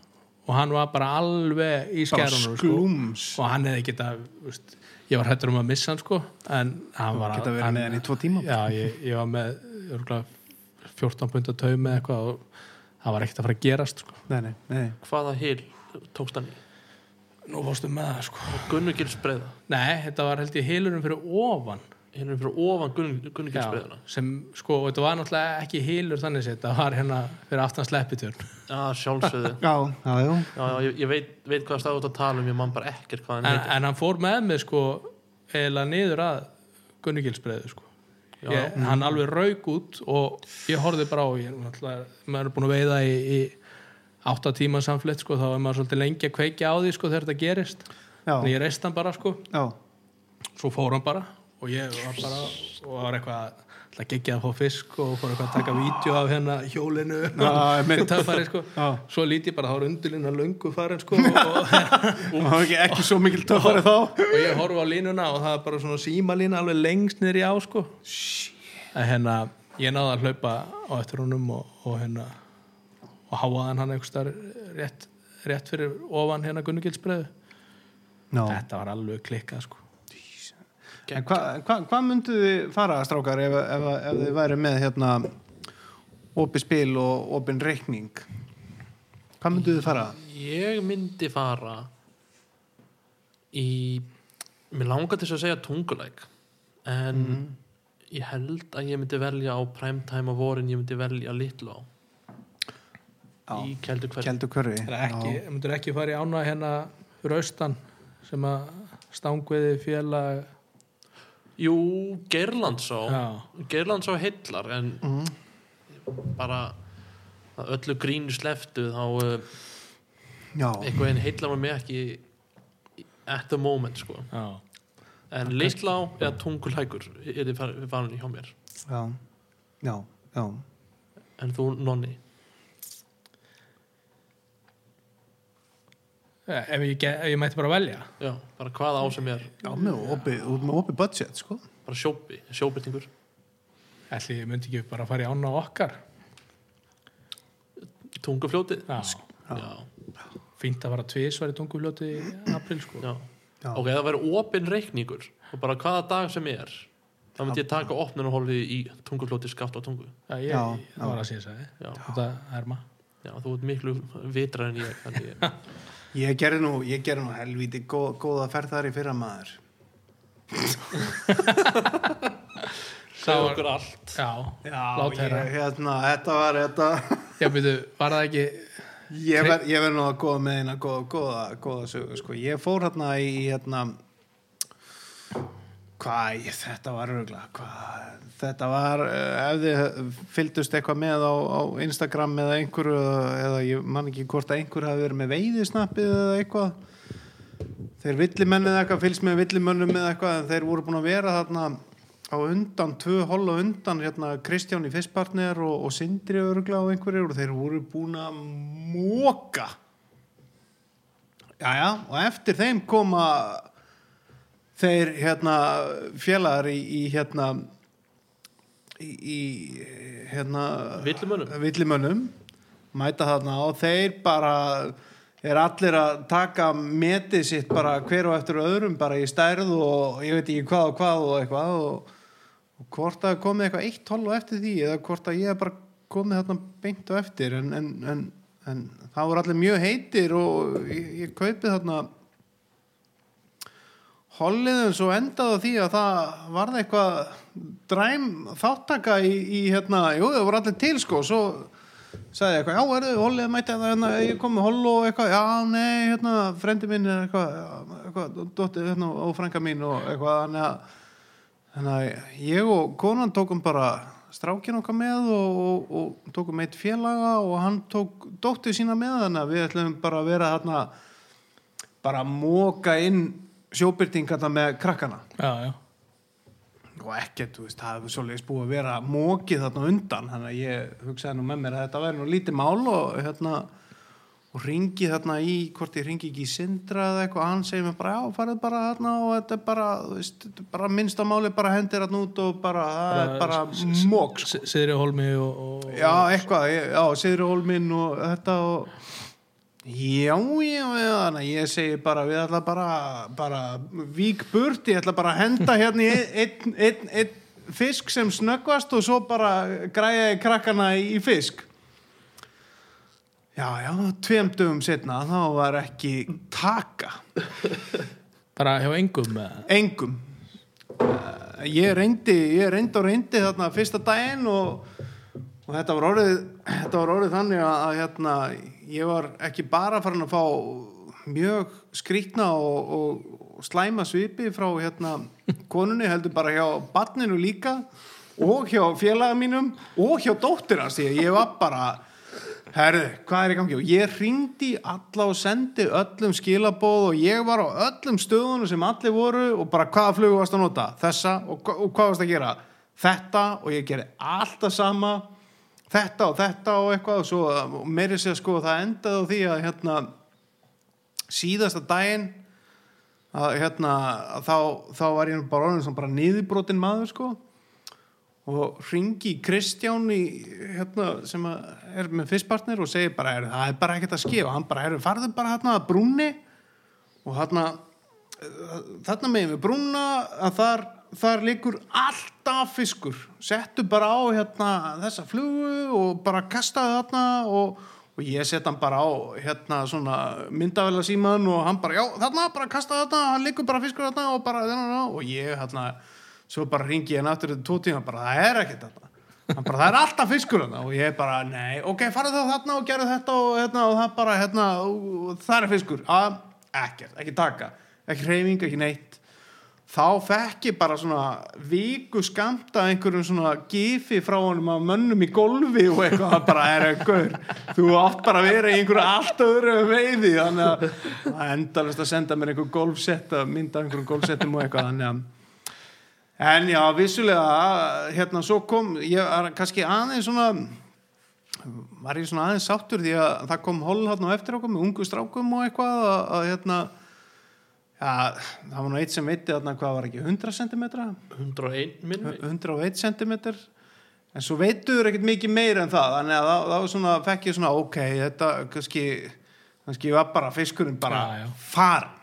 B: og hann var bara alveg í
A: bara
B: skærunum sko,
A: sklúms
B: og hann hefði geta veist, ég var hættur um að missa hann sko en hann var
A: geta verið
B: hann-
A: með hann í tvo tíma.
B: já, ég, ég var með örgulega, 14 pund að tau með eitthvað og það var ekkert að fara að gerast sko.
A: Nei, nei, nei.
C: Hvaða hil tókst hann í?
B: nú fórstu með það sko
C: Gunnugilsbreiða.
B: nei, þetta var held ég heilurum fyrir ofan
C: Hérna er fyrir ofan Gunnugilsbreiðana.
B: Já, sem sko, og þetta var náttúrulega ekki hýlur þannig sétt, það var hérna fyrir aftan sleppitjörn
C: Já, sjálfsögðu.
A: Já, já, já.
C: Já, já, ég, ég veit, veit hvað staðu út að tala um, ég man bara ekkert hvað hann
B: en,
C: heitir.
B: en hann fór með mig sko eiginlega niður að Gunnugilsbreiðu sko
C: Já.
B: ég, hann alveg rauk út og ég horfði bara á ég, er náttúrulega- maður er búin að veiða í, í átta tíma samflitt sko, þá er maður svolítið lengi að kveikja á því sko þegar þetta gerist
A: Já.
B: en ég reist hann bara sko,
A: já.
B: svo fór hann bara og ég var bara og var eitthvað ætla að gegja að fá fisk og fór eitthvað að taka vídeo af hérna hjólinu
A: Já,
B: og
A: einmitt.
B: töffari sko
A: Já.
B: svo líti bara þá er undurlinna löngu farin sko og,
A: það var ekki, ekki svo mikil töffari þá
B: og ég horfa á línuna og það er bara svona símalína alveg lengst niður í á sko að hérna ég náði að hlaupa á eftir honum og, og hérna og háaðan hann einhvers þar rétt, rétt fyrir ofan hérna Gunnugilsbreðu
A: no.
B: þetta var alveg klikkað sko
A: En hvað hva, hva myndu þið fara strákar ef, ef, ef þið væri með hérna opið spil og opin reikning hvað myndu þið fara?
C: Ég myndi fara í mér langar til þess að segja tungulæk en
A: Mhm.
C: ég held að ég myndi velja á primetime á vorin ég myndi velja Littló
A: Já.
C: í keldu hverju
A: Keldu hverfi
B: Það er ekki, það myndur ekki fara í ána hérna fyrir austan sem að stangviði félag
C: Jú, Gerlandsá
B: Já.
C: Gerlandsá heillar en
A: Mhm.
C: bara að öllu grínu sleftu þá uh,
A: Já,
C: einhvern veginn heillar maður mig ekki í- at the moment sko
B: Já.
C: en Littlá eða tungulækur er þið farin farin í hjá mér
A: já, já, já.
C: en þú nonni
B: E, Ef ég, ge- ef ég mætti bara velja
C: Já, bara hvað á sem er
A: Já, með opið, þú ert með opið budget, sko.
C: bara sjópi, sjóbyrtingur
B: Ætli ég myndi ekki bara fara í ána okkar
C: tungufljóti
B: Já.
A: Sko.
C: já,
B: Fínt að fara tvisvar í tungufljóti í april sko
C: já.
A: Já.
C: ok, það væri opinn reikningur og bara hvaða dag sem er þá myndi ég taka opnunarhóli í tungufljóti skaft á tungu
B: Já, ég,
A: Já,
B: það var að sé það
C: já,
B: Þetta herma
C: já þú ert miklu vitrar en ég, þannig ég
A: Ég gerði nú, ég gerði nú helvíti góð, góða ferð þar í fyrra maður.
C: það er okkur allt
B: Já, lát
A: ég,
B: herra
A: hérna, þetta var, þetta,
B: Já, byrju, var það ekki
A: ég verð ver nú að góða með eina góða, góða, góða sögu, sko. Ég fór hérna í, hérna, hvað, ég- þetta var örgla, hvað, þetta var, eh, ef þið fylgdust eitthvað með á, á Instagram eða einhverju, eða ég man ekki hvort að einhverju hafi verið með veiðisnappið eða eitthvað, þeir villimennið eitthvað fylgst með villimönnum eða eitthvað en þeir voru búin að vera þarna á undan, tvö hola undan hérna Kristján í fyrstpartner og, og Sindri örgla og einhverjir og þeir voru búin að móka Jæja, og eftir þeim koma þeir hérna félagar í, í hérna í, í hérna
C: villumönum,
A: villimönnum mæta þarna og þeir bara er allir að taka metið sitt bara hver og eftir öðrum bara í stærð og ég veit ekki hvað og hvað og eitthvað og, og hvort að komið eitthvað eitt tól og eftir því eða hvort að ég hef bara komið þarna beint og eftir en, en, en, en það voru allir mjög heitir og ég, ég kaupið þarna Holliðum svo endaði á því að það varð eitthvað dræm þáttaka í, í hérna, jú það voru allir til sko, svo sagði ég eitthvað, já erðu, Hollið mætti að hérna, ég kom með Hollo og eitthvað, já nei, hérna, frendi mín er eitthvað, já, eitthvað, dótti, hérna, og frænka mín og eitthvað, þannig að, þannig að ég og konan tókum bara strákin okkar með og, og, og tókum eitt félaga og hann tók dóttu sína með þannig að við ætlum bara að vera hérna, bara móka inn sjóbyrtingarna með krakkana
B: Já, já
A: og ekkert, þú veist, það hefur svolítið búið að vera mókið þarna undan þannig að ég hugsaði nú með mér að þetta væri nú lítið mál og hérna og ringi þarna í, hvort ég ringi ekki í sindra eða eitthvað, hann segir mér bara já, farið bara þarna og þetta er bara þú veist, þetta er bara minnsta máli, bara hendir þarna út og bara, það er bara mók
B: S- Syðri Holmi og, og
A: já, eitthvað, ég- já, Sigri Hólminn og þetta og já, já, já, þannig að ég segi bara, við ætla bara, bara vík burt, ég ætla bara að henda hérna í einn ein, ein, fisk sem snöggvast og svo bara græja ég krakkana í, í fisk já, já, tveim dögum setna þá var ekki taka
B: bara hjá engum með
A: engum Eh, ég reyndi ég reyndi og reyndi þarna fyrsta daginn og, og þetta var orðið þetta var orðið þannig að, að hérna, ég var ekki bara farin að fá mjög skrýtna og, og, og slæma svipi frá hérna, konunni heldur bara hjá barninu líka og hjá félaga mínum og hjá dóttir hans því að ég var bara herðu, hvað er í gangi og ég ringdi alla og sendi öllum skilabóð og ég var á öllum stöðunum sem allir voru og bara hvaða flugu varst að nota, þessa og, hva- og hvað varst að gera, þetta og ég gerði alltaf sama þetta og þetta og eitthvað og svo og meiri sér sko það endaði á því að hérna síðasta daginn að hérna að þá, þá var ég nú bara orðin sem bara niðurbrotin maður sko og ringi Kristján í, hérna, sem að er með fyrstpartner og segir bara, "Heyrðu, það er bara ekkert að skefa hann bara, er, farðu bara hérna að brúnni og hérna eh, þarna megin við brúna að þar, þar liggur alltaf fiskur settu bara á hérna þessa flugu og bara kastaði þarna og, og ég set hann bara á hérna svona myndavela síman og hann bara, já þarna bara kastaði þarna hann liggur bara fiskur þarna og bara og ég hérna, svo bara ringi ég hann aftur þetta tvo tíma, bara það er ekkert þarna hann bara, það er alltaf fiskur þarna og ég bara, nei, ok, farið þá þarna og gerðu þetta og, hérna, og það bara, hérna og, og það er fiskur, að, ekkert ekki taka, ekki reyfing, ekki neitt þá fekk ég bara svona viku skamta einhverjum svona gifi frá honum að mönnum í golfi og eitthvað það bara er eitthvað þú átt bara að vera í einhverju allt öðru veiði þannig að það er endalist að senda mér einhver golfsett að mynda einhverjum golfsettum og eitthvað þannig að En já, vissulega, hérna, svo kom, ég er kannski aðeins svona, var ég svona aðeins sáttur því að það kom hol hérna á eftir okkur með ungu strákum og eitthvað að, að hérna, já, það var nú eitt sem veitti hérna hvað var ekki, 100 cm,
C: 101 minni
A: 101 cm, en svo veittuður ekkert mikið meir en það, þannig að þá- þá svona fekk ég svona, ok, þetta kannski, kannski var bara fiskurinn bara
B: Já, já.
A: farin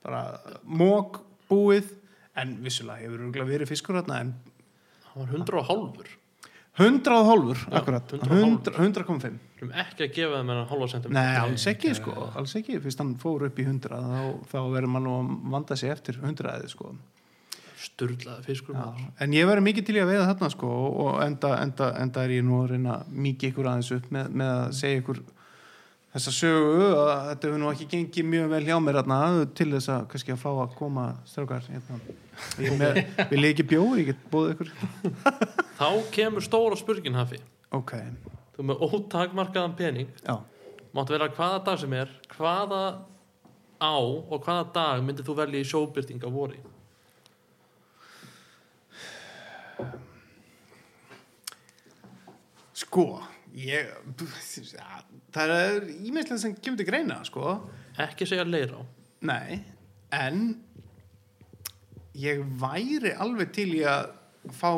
A: bara mók búið en vissulega hefur örugglega verið fiskur hérna en
C: hann var 100 og hálfur
A: 100 og hálfur,
C: Já,
A: akkurat
C: 100 og hálfur.
A: 100 100,5
C: við erum ekki að gefa þeim en hálfa sentum
A: Nei, alls ekki sko, alls ekki fyrst hann fór upp í 100 þá, þá verður maður nú að vanda sig eftir 100 eði sko
C: sturlaði fiskur
A: Já,
C: maður.
A: en ég verður mikið til í að veiða þarna sko og og enda, enda, enda er ég nú að reyna mikið ykkur aðeins upp með, með að segja ykkur þessa sögu að þetta hefur nú ekki gengið mjög vel hjá mér þarna til þess að kannski að fá að koma strákar hérna. Ég er með, vil ég ekki bjóður, ég get bóðið ykkur
C: þá kemur stóra spurgin hafi
A: ok,
C: þú er með ótakmarkaðan pening
A: já
C: máttu vera hvaða dag sem er hvaða á og hvaða dag myndir þú velja í sjóbyrting á vori
A: sko, ég það er ímestlega sem kemur til greina sko,
C: ekki segja leirá
A: nei en ég væri alveg til í að fá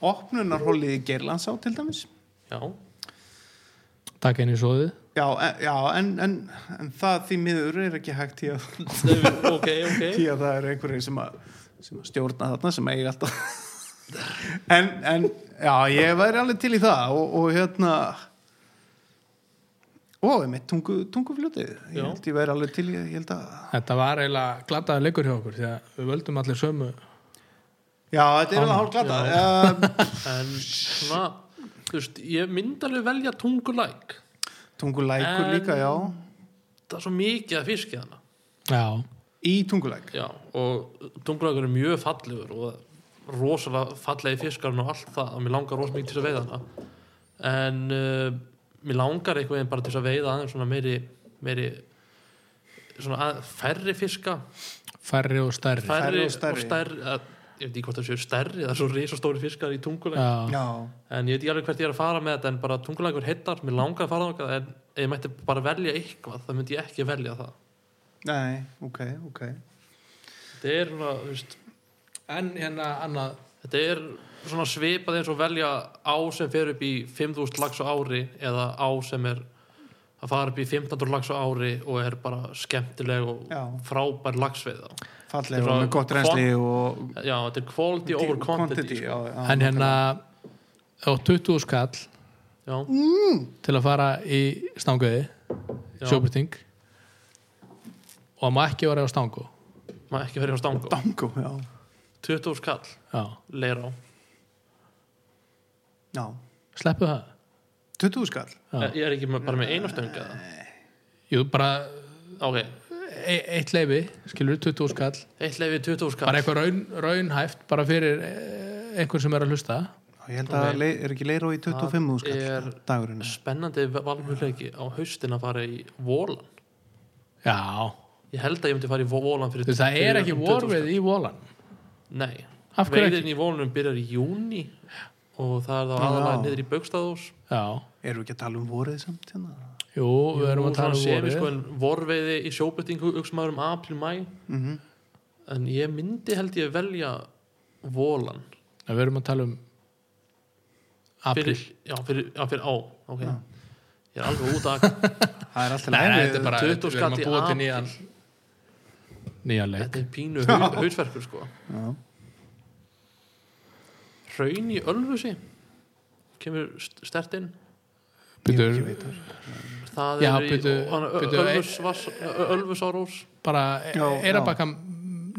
A: opnunarhólið í Geirlandsá til dæmis
C: já,
B: Takk henni svoðið
A: já, en, já, en, en, en það því miður er ekki hægt í að
C: ok,
A: því
C: ok
A: að það eru einhverjir sem að, sem að stjórna þarna sem eigi alltaf en, en já, ég væri alveg til í það og, og hérna og með tungu, tungufljótið ég
C: Já.
A: held ég væri alveg til í ég held að
B: Þetta var eiginlega glataði leikur hjá okkur því að við völdum allir sömu
A: já, þetta er alveg hálf glata uh,
C: en svona þú veist, ég myndi alveg velja tungulæk
A: tungulækur
C: En-
A: líka, já
C: það er svo mikið að fiskja hana
B: Já,
A: í tungulæk
C: já, og tungulækur er mjög fallegur og rosalega fallegi fiskarinn og allt það og mér langar rosalega mikið til þess að veiða hana en uh, mér langar einhvern veginn bara til þess að veiða aðeins svona meiri, meiri svona að, færri fiska
B: færri og stærri
C: færri og
A: stærri.
C: stærri, að, ég veit ekki hvort það séu stærri það er svo risastóri fiskar í tungulæk
B: Já,
A: já,
C: en ég veit ekki alveg hvert ég er að fara með þetta en bara tungulækur hittar, mér langar að fara þangað en ef ég mætti bara velja eitthvað það myndi ég ekki velja það
A: nei, ok, ok
C: þetta er, svona, þú veist,
B: en hérna annað
C: þetta er svona svipað eins og velja á sem fer upp í 5000 lags á ári eða á sem er að fara upp í 1500 lags á ári og er bara skemmtileg og
A: Já.
C: frábær lagsveiða
A: falleg
C: Þetta er
A: og með gott
C: svona
A: reynsli og
C: já, þetta er quality over quantity, sko.
A: já, já,
B: En hérna á 20 skall
C: Já,
B: til að fara í stanguði
C: Já.
B: sjóbyrting og það má ekki vera á stangu
C: maður ekki verið á stangu
A: dango, já,
C: 20 skall,
B: Já,
C: leirá
A: já
B: sleppu það
A: 20 skall
B: Já.
C: Ég er ekki með, bara með eina stönga
B: Jú, bara
C: Ok,
B: e eitt leifi, skilur 20 skall
C: eitt leiði 20 skall
B: bara eitthvað raun, raunhæft bara fyrir eh, einhvern sem er að hlusta
A: Já, ég held að
C: Nei.
A: lei, er ekki leiró í 25
C: Það
A: skall
C: er-
A: dagurinn
C: spennandi valmjöleiki á haustin að fara í Vólan
B: Já,
C: ég held að ég myndi fara í Vó- Vólan fyrir
B: Þú veist, það er
C: fyrir
B: ekki
C: um 20
B: vorfið í volan
C: skall. nei,
B: Af hverju ekki?
C: veiðin í Vólanum byrjar í júni og það er þá aðalega niður í Bögstaðós
B: Já,
A: erum við ekki að tala um vorið samt hérna?
B: jú, við erum að tala um vorfið
C: sko, en vorveiði í sjóbyttingu auksmaður um april, mæ
A: mm -hmm.
C: en ég myndi held ég velja Vólan
B: En Við erum að tala um april
C: fyrir, já, fyrir, já, fyrir á ok ég er alveg út að
A: það er alltaf
B: Nei, nei, þetta
A: leið
B: er bara,
C: 20
B: við erum
C: skall
B: að
C: í
B: búa til
C: apríl.
B: nýjan nýjan leik
C: þetta er pínu hau- hausverkur sko
A: Já.
C: Hraun í Ölfusi kemur st- sterkt inn
B: Býtur,
C: það
B: Já,
C: er í
B: byrju-
C: og hann- Ö-
B: byrju,
C: Ölfus, Vass, Ö- Ölfus árós
B: bara
A: Já,
B: Eirabakka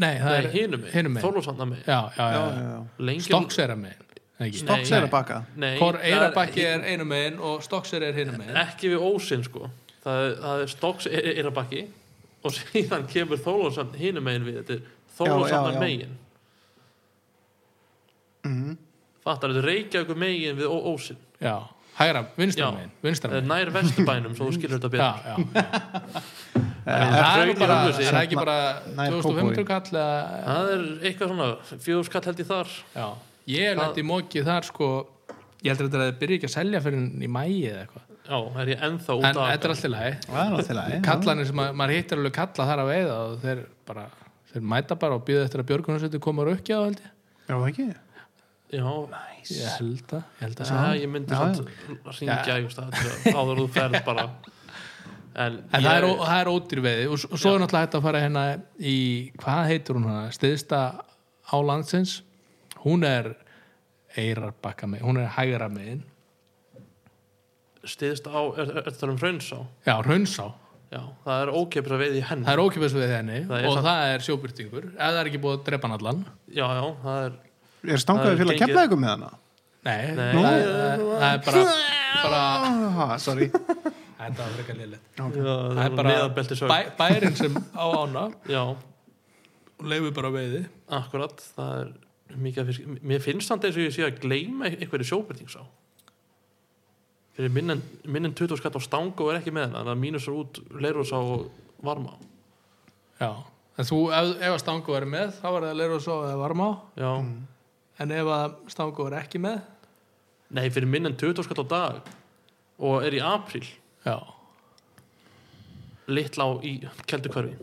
B: Nei, það
C: nei,
B: er
C: hinum
B: hinum
C: með,
B: megin.
C: Þorlósanda með
B: Já, já, já,
C: lengi
B: Stokksera megin eða ekki?
C: Nei.
A: stokks er að baka
C: nei,
B: Hvor
C: það er
B: Eirabakki er einu megin og Stokksera er hinu megin
C: ekki við ósinn sko það er, það er Stokks Eirabakki og síðan kemur Þorlósand hinum megin við þetta er
A: Já, já, já.
C: Þorlósanda megin
A: Mhm.
C: fattar þetta reykja ykkur megin við Ó- ósinn
B: Já, hægra, vinstra
C: Já.
B: megin Vinstra
C: það er
B: megin
C: nær vesturbænum svo þú skilur þetta
B: Já,
C: betur
B: já
A: Eh,
B: En Það er
C: Hraun
B: nú
C: í
B: bara,
C: Ölfusi.
B: það er ekki bara
A: Nær
B: 2500
A: Kópavogi.
B: kall eða
C: það er eitthvað svona fjóðskall held ég þar
B: Já, ég
C: Það-
B: lent í mókið þar sko ég heldur þetta að það byrja ekki að selja fyrir í mæi eða eitthvað,
C: já, er ég ennþá út
B: en
C: að
B: þetta er alltaf læg
A: það er alltaf leið
B: kallanir sem að, maður hittir alveg kalla þar að veiða og þeir bara, þeir mæta bara og býða eftir að björgunarsveitu koma að rökkja á held ég
A: já, ekki
C: já,
B: ég held að, ég held að
C: Já, ég myndi
A: Já,
C: samt ringja einhvers stað til að áður þú ferð bara en,
B: En
C: ég,
B: það er, ó- það er ódýr veiði og s- og svo er náttúrulega hægt að fara hérna í, hvað heitur hún hana, stiðsta á landsins, hún er eirarbakka megin, hún er hægra megin,
C: stiðst á er, er, er það um hraunsá
B: já, raunsá,
C: já, það er ókeipis að veið í henn
B: það er ókipis við henni
C: Það er
B: og
C: samt-
B: það er sjóbyrtingur, ef það er ekki búið að drepa hann allan,
C: já, já, það er
A: er stangaði fyrir að
C: gengið-
A: kemla ykkur með hana
B: nei,
C: Nei.
B: það, er, það, er- það er bara, bara
A: ah, sorry
B: þetta var frekar liðlegt,
C: já,
B: það er
C: neðabelti
B: bara bæ, bærin sem á ána
C: já,
B: og leifir bara veiði,
C: akkurat það er mikið að fisk mér finnst þannig eins og ég sé að gleyma e- einhverju sjóbyrtingsá fyrir minn en- minn en 20 skatt á stang og er ekki með hennar það mínusar út leirúsá og varma
B: já, en þú, ef, ef að stangu verið með, þá var það leir og svo eða varma á,
C: já,
B: Mm. en ef að stangu verið ekki með,
C: nei, fyrir minn en 20 skatt á dag og er í apríl
B: já,
C: litla á í keldukörfi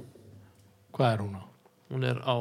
B: hvað er hún á?
C: hún er á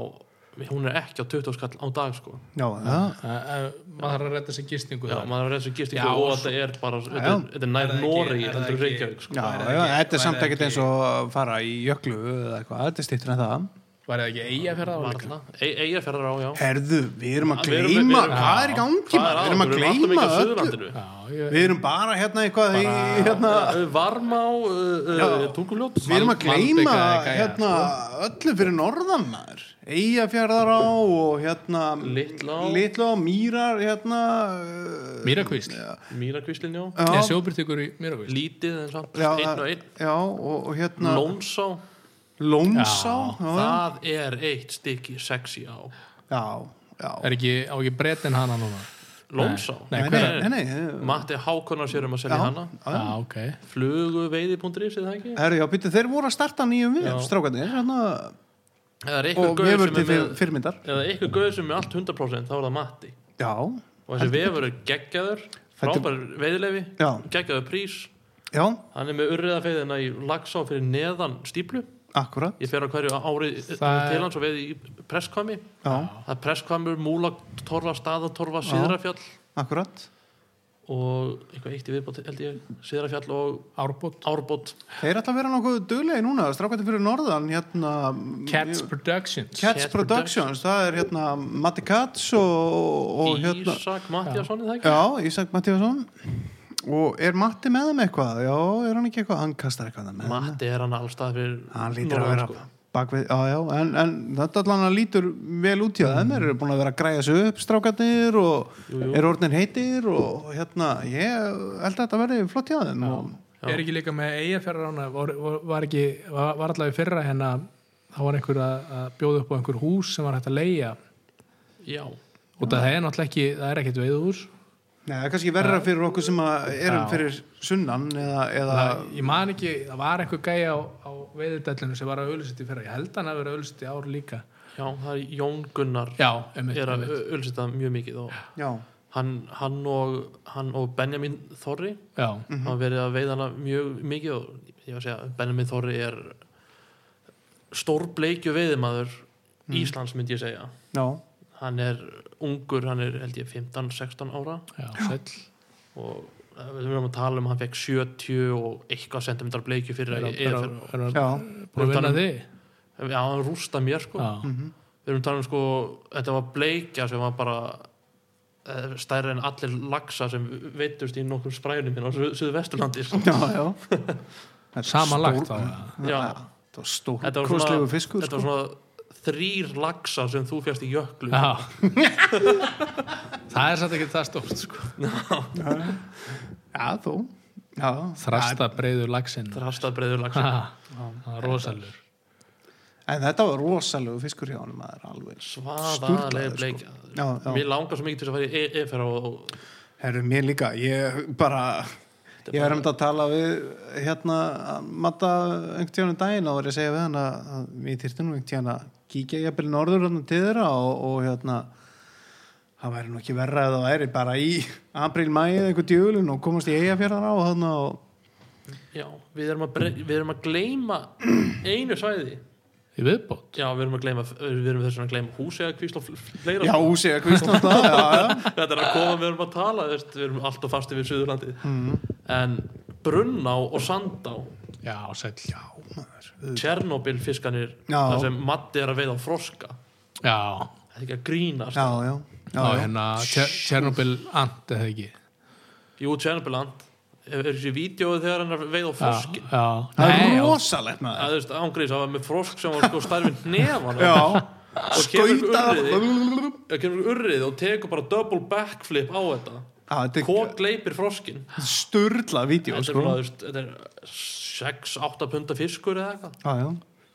C: hún er ekki á 20 skall á dag sko
A: já,
B: Ah.
A: það
B: Æ, æ, maður þarf að redda sér gistingu
C: já,
B: þar.
C: maður er eins og gist
B: Já,
C: ekki og
B: og
C: þetta er bara þetta
A: Já,
C: er,
A: já.
C: þetta er
B: Er
C: nær
B: það ekki-
C: Nóri
B: er það
C: heldur
B: ekki-
C: Reykjavík sko.
A: Já,
B: Væri það
A: já,
B: ekki-
A: þetta er
B: væri
A: samt
B: það
A: ekkert
B: ekki-
A: eins og að fara í jöklu eða eitthvað, þetta er stýttur en það
B: Var það ekki eiga fyrir það? líka?
C: Varla. E, Eyjafjarðar á, já
A: Herðu, við erum að
C: Við erum- við erum-
A: gleyma hvað er í
B: Já.
A: gangi,
C: Hvað
A: maður?
C: að
A: við erum að
C: okkur?
A: gleyma
C: alltaf mikið á
A: öllu
C: Suðurlandinu.
B: Já, ég,
A: Við erum bara hérna eitthvað í, hérna,
C: Ö, varma á uh, uh,
A: Já.
C: tunguljót
A: við erum að
B: Malbika
A: gleyma
B: eða gæja,
A: hérna öllu fyrir norðan maður Eyjafjörðará og hérna
C: Litlá.
A: Litlá, Mýrar hérna uh,
B: Mýrakvísl.
C: mýrakvíslin, já
B: Nei,
A: Já,
B: sjóbyrtingur í Mýrakvísl.
C: lítið en samt,
A: já,
C: einn og
A: það-
C: einn
A: já og, og hérna
C: Lónsá,
A: Lónsá já,
B: Já,
A: já.
C: það er eitt stykki sexy á
A: já, já
B: Er ekki, á ekki breytin hana núna?
C: Lónsá
B: Nei,
A: Nei,
B: hver
A: nei, nei, nei,
C: Matti Hákonar sér um að
A: Já.
C: selja hana
B: Já, ok.
C: flugu veiði.is eða ekki
A: Herri, já, býttu, þeir voru að starta nýjum við,
C: Já.
A: strákanir, hérna,
C: eða er
A: og
C: eitthvað
A: við
C: gauð
A: vorum
C: sem
A: til
C: er
A: fyr-
C: með
A: fyrirmyndar.
C: eða eitthvað gauð sem er allt 100% þá er það Matti
A: Já,
C: og þessi vefur er geggjaður
A: Þetta-
C: frábær veiðilefi,
A: Já.
C: geggjaður prís
A: já,
C: hann er með urriðafeiðina í lagsá fyrir neðan stíplu
A: akkurat,
C: ég fer á hverju ári
B: Það-
C: til hans og veiði í presskvami
A: já,
C: það er presskvamur, múla, torfa, staða torfa, síðrafjall
A: akkurat.
C: og eitthvað eitt í viðbót held ég, síðrafjall og
B: Árbót.
C: árbót
A: Þeir ætla að vera nokkuð duglegi núna, strákanir fyrir norðan, hérna,
B: Cats Productions.
A: Cats
C: Cats
A: Productions, það er hérna Matti Katz og, og hérna,
C: Ísak Mattiasson er það ekki?
A: já, Ísak Mattíasson. Og er Matti með þeim eitthvað? Já, er hann ekki eitthvað? Hann kastar eitthvað með þeim.
C: Matti er hann allstað fyrir
A: Hann lítur að
C: norðan,
A: vera
C: sko.
A: bakvið, já, já, en, en þetta allan að lítur vel út hjá þeim, þeir eru búin að vera að græja sig upp strákarnir og
C: Jú, jú.
A: eru orðnir heitir og hérna, ég held að þetta verði flott hjá þeim og
C: Já.
B: Er ekki líka með eiga fyrir hana? Var, var, var ekki, var, var allavega í fyrra hérna, þá var einhver að, að bjóða upp á einhver hús sem var hægt að leia.
C: já,
B: Og það er náttúrulega ekki, það er ekkit veiðuhús.
A: Nei, það er kannski verra fyrir okkur sem að erum
B: Já.
A: fyrir sunnan eða, eða
B: Það- ég man ekki, það var einhver gæja á, á veiðudellinu sem var að auðlýsiti fyrra ég held hann að vera auðlýsiti ár líka
C: Já, það er Jón Gunnar
B: já, einmitt,
C: er að
B: einmitt.
C: ölsita mjög mikið og
A: já,
C: hann, hann, og, hann og Benjamin Þorri
B: já,
C: hafa verið að veiða hana mjög mikið og ég var að segja Benjamin Þorri er stórbleikju veiðimaður Íslands myndi ég segja
A: já,
C: hann er ungur, hann er held ég 15-16 ára
B: já, sæll
C: og eh, við erum að tala um að hann fekk 70 og eitthvað sentimentar bleikju fyrir
B: er
C: að
B: að- er að- er að-
A: já,
B: búin að vinna því
C: já, hann rústa mér sko
B: já,
A: Mhm.
C: við erum að tala um sko, þetta var bleikja sem var bara eh, stærri en allir laxa sem veitust í nokkrum spræðunum hérna á Su- Suðvesturlandi sko.
A: já, já. Þetta er
B: samanlagt
A: stór-
B: þá
C: Já.
A: Þetta var stór
C: Þetta var svona-
A: kúslegu fiskur sko.
C: þetta var svona þrýr laxa sem þú fjast í jöklu
B: Já Það er samt ekki það stórt sko.
A: Já, þú já,
B: Þrasta breyður lagsinn
C: það er hastadbreiður laxa
B: Það er rosalur
A: En þetta var rosalegu fiskur hjá hann maður alveg
C: svaðalega
A: Sturlaður,
C: bleikja
A: Já, já.
C: mér langar svo mikið til þess að fara í EFR og, og
A: Herru, mér líka, ég bara ég er um þetta að tala við hérna, matta einhvern tíðan um daginn og var ég að segja við hann að að við þyrftum nú einhvern tíðan að kíkja ég að byrja norður hann til þeirra og, og hérna það væri nú ekki verra eða það væri bara í april, mæi eða einhvern djúlun og komast í eiga fjörðan á og þarna og
C: já, við erum að, bre- við erum að gleyma einu svæði
B: Í viðbót
C: já, við erum að gleyma við erum þess vegna að gleyma húsi að kvísla fleira sko.
A: já, úsið að kvistna það, já, já
C: þetta er að koma, við erum að tala þú veist, við erum alltaf fasti við Suðurlandið
A: Mhm.
C: en Brunná og Sandá
B: Já, sæll Já,
C: Tjernobyl fiskanir
A: Já.
C: þar sem Matti er að veiða á froska
B: já,
C: það er ekki að grínast
A: já, já, já,
B: já
A: já.
B: hérna Tjer- Tjernobyl ant eða ekki
C: jú, Tjernobyland er þessi vídjóið þegar hann er að veiða á
B: Já,
C: froski
B: já
A: það
B: Nei,
A: er
B: já.
A: rosalegt maður
C: Það, þú veist, ángriðis, það var með frosk sem var sko stærfinn nefan
A: já,
C: og kemur
A: skautað
C: urriði, kemur urriði og tekur bara double backflip á þetta
A: Já, þetta
C: kók leipir froskin
A: er sturla vídeo
C: þetta er,
A: sko.
C: svona, þú veist, þetta er 6-8 punda fiskur eða eitthvað
A: já, já.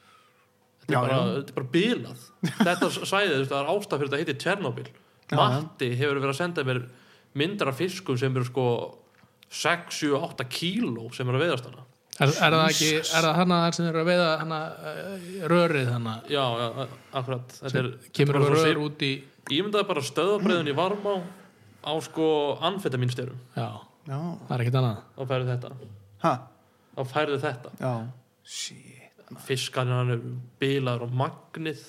C: þetta er
A: Já,
C: bara, þetta er bara bílað þetta svæðið, þú veist, það er ástaf fyrir þetta heiti Tjernobyl
A: já.
C: Matti hefur verið að senda mér myndar af fiskum sem eru sko 6, 7, 8 kíló sem eru að veiðast hana
B: Er, er það ekki, er það hana þar sem eru að veiða hana eh, rörið hana
C: já, já, akkurat þetta er,
B: kemur
C: þetta er
B: að
C: bara
B: rör
C: svo-
B: út í
C: ég myndaði bara stöðabreiðun í varmá á sko anfetaminstyrum
B: Já,
A: já,
B: það er ekkert annað
C: þá færðu þetta,
A: ha,
C: þá færðu þetta
A: já shit,
C: fiskarinn hann er bílaður og magnið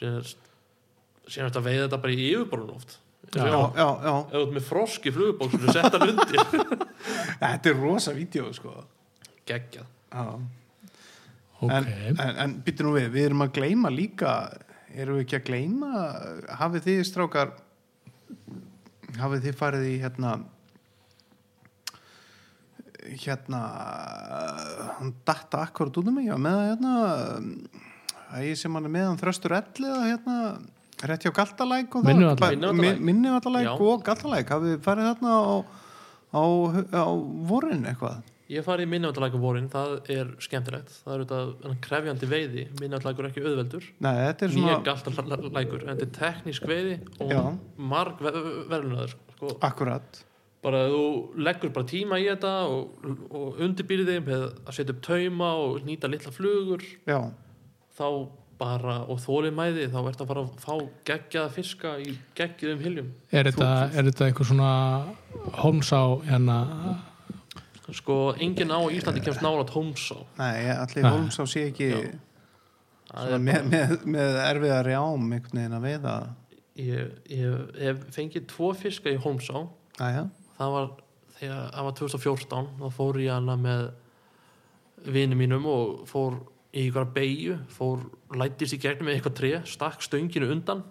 C: síðan er síðan er þetta að veiða þetta bara í yfirborun oft
B: Já.
A: já, já, já
C: ef þú ert með frosk í flugubóksinu sett hann undir
A: þetta er rosa vídeo sko.
C: geggjað
A: Já. en,
B: Ok,
A: en, en býttu nú við, við erum að gleyma líka erum við ekki að gleyma hafið þið strákar hafið þið farið í hérna hérna hann datta akkurat út um mig ég var með það hérna að ég sem hann er með hann þröstur elli eða hérna rétt hjá Galtalæk og það
B: Minnivallalæk.
A: Bara-
C: Minnivallalæk.
A: mi- Minnivallalæk
C: Já.
A: og Galtalæk hafið þið farið þarna á, á, á vorin eitthvað
C: Ég fari í minnvæntalækur vorin, það er skemmtilegt. Það er auðvitað krefjandi veiði, minnvæntalækur ekki auðveldur.
A: Nei, þetta er
C: Nýja
A: svona
C: galtalækur, en þetta er teknísk veiði og
A: Já.
C: marg verðlunaður. Sko,
A: Akkurat
C: bara þú leggur bara tíma í þetta og, og undirbýrið þig með að setja upp tauma og nýta litla flugur,
A: Já,
C: þá bara, og þólimæði, þá ertu að fara að fá geggjaða fiska í geggjuðum hiljum.
B: er þetta, er þetta einhver svona Holmes á hérna
C: Sko, engin á á Íslandi kemst nálat hómsá.
A: nei, allir Holmsá sé ekki
C: Það
A: svona,
C: er
A: með, með, með erfiða rjám einhvern veginn að veiða
C: Ég, ég hef fengið tvo fiska í hómsá
A: Æja,
C: það var þegar það var 2014 þá fór ég hana með vini mínum og fór í ykkur beigju, fór lættist í gegnum með eitthvað tré, stakk stönginu undan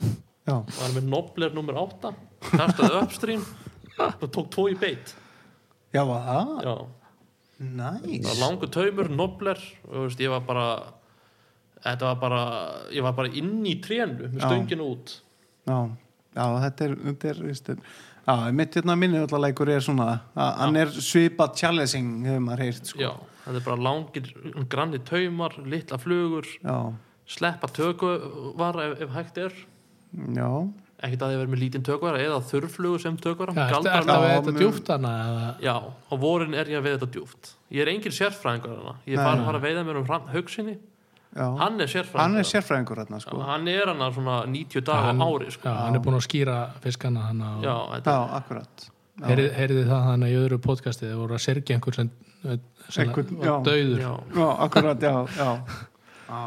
A: já,
C: var með nobler nummer 8 kastaði upstream og tók tvo í beitt
A: já, var það
C: Já, það var
A: Næs,
C: langu taumur, nobler og þú veist, ég var bara þetta var bara, ég var bara inn í trénu með
A: Já.
C: stönginu út
A: já, já, þetta er, þetta er, þetta er Já, mitt hérna minni allarleikur er svona að hann er svipað challenging hefur maður heyrt sko.
C: Já, þetta er bara langir granni taumar, litla flugur
A: Já,
C: sleppa tökuvara ef, ef hægt er
A: já,
C: ekkert að ég verið með lítinn tökvara eða þurrflugu sem tökvara
B: Já, ertu
C: Galdrar-
B: ertu að
A: Já,
B: veða þetta
A: mun-
B: djúpt hana eða
C: Já, á vorin er ég að veiða þetta djúft Ég er engin sérfræðingur hana Ég er
A: Nei.
C: bara að fara að veiða mér um hrann hugsinni
A: já.
C: Hann er sérfræðingur
A: hann er sérfræðingur hérna sko.
C: hann er hana svona 90 daga
B: hann,
C: á ári sko.
B: já, hann er búin að skýra fiskana hann og
C: Já, þetta
A: já,
C: er
A: akkurat Já.
B: heyrði, heyrði það hann í öðru podcasti þegar voru að sergi einhver sem, sem
A: Einhvern,
B: var
A: já.
B: döður
C: já,
A: já, akkurat, já, já. Já,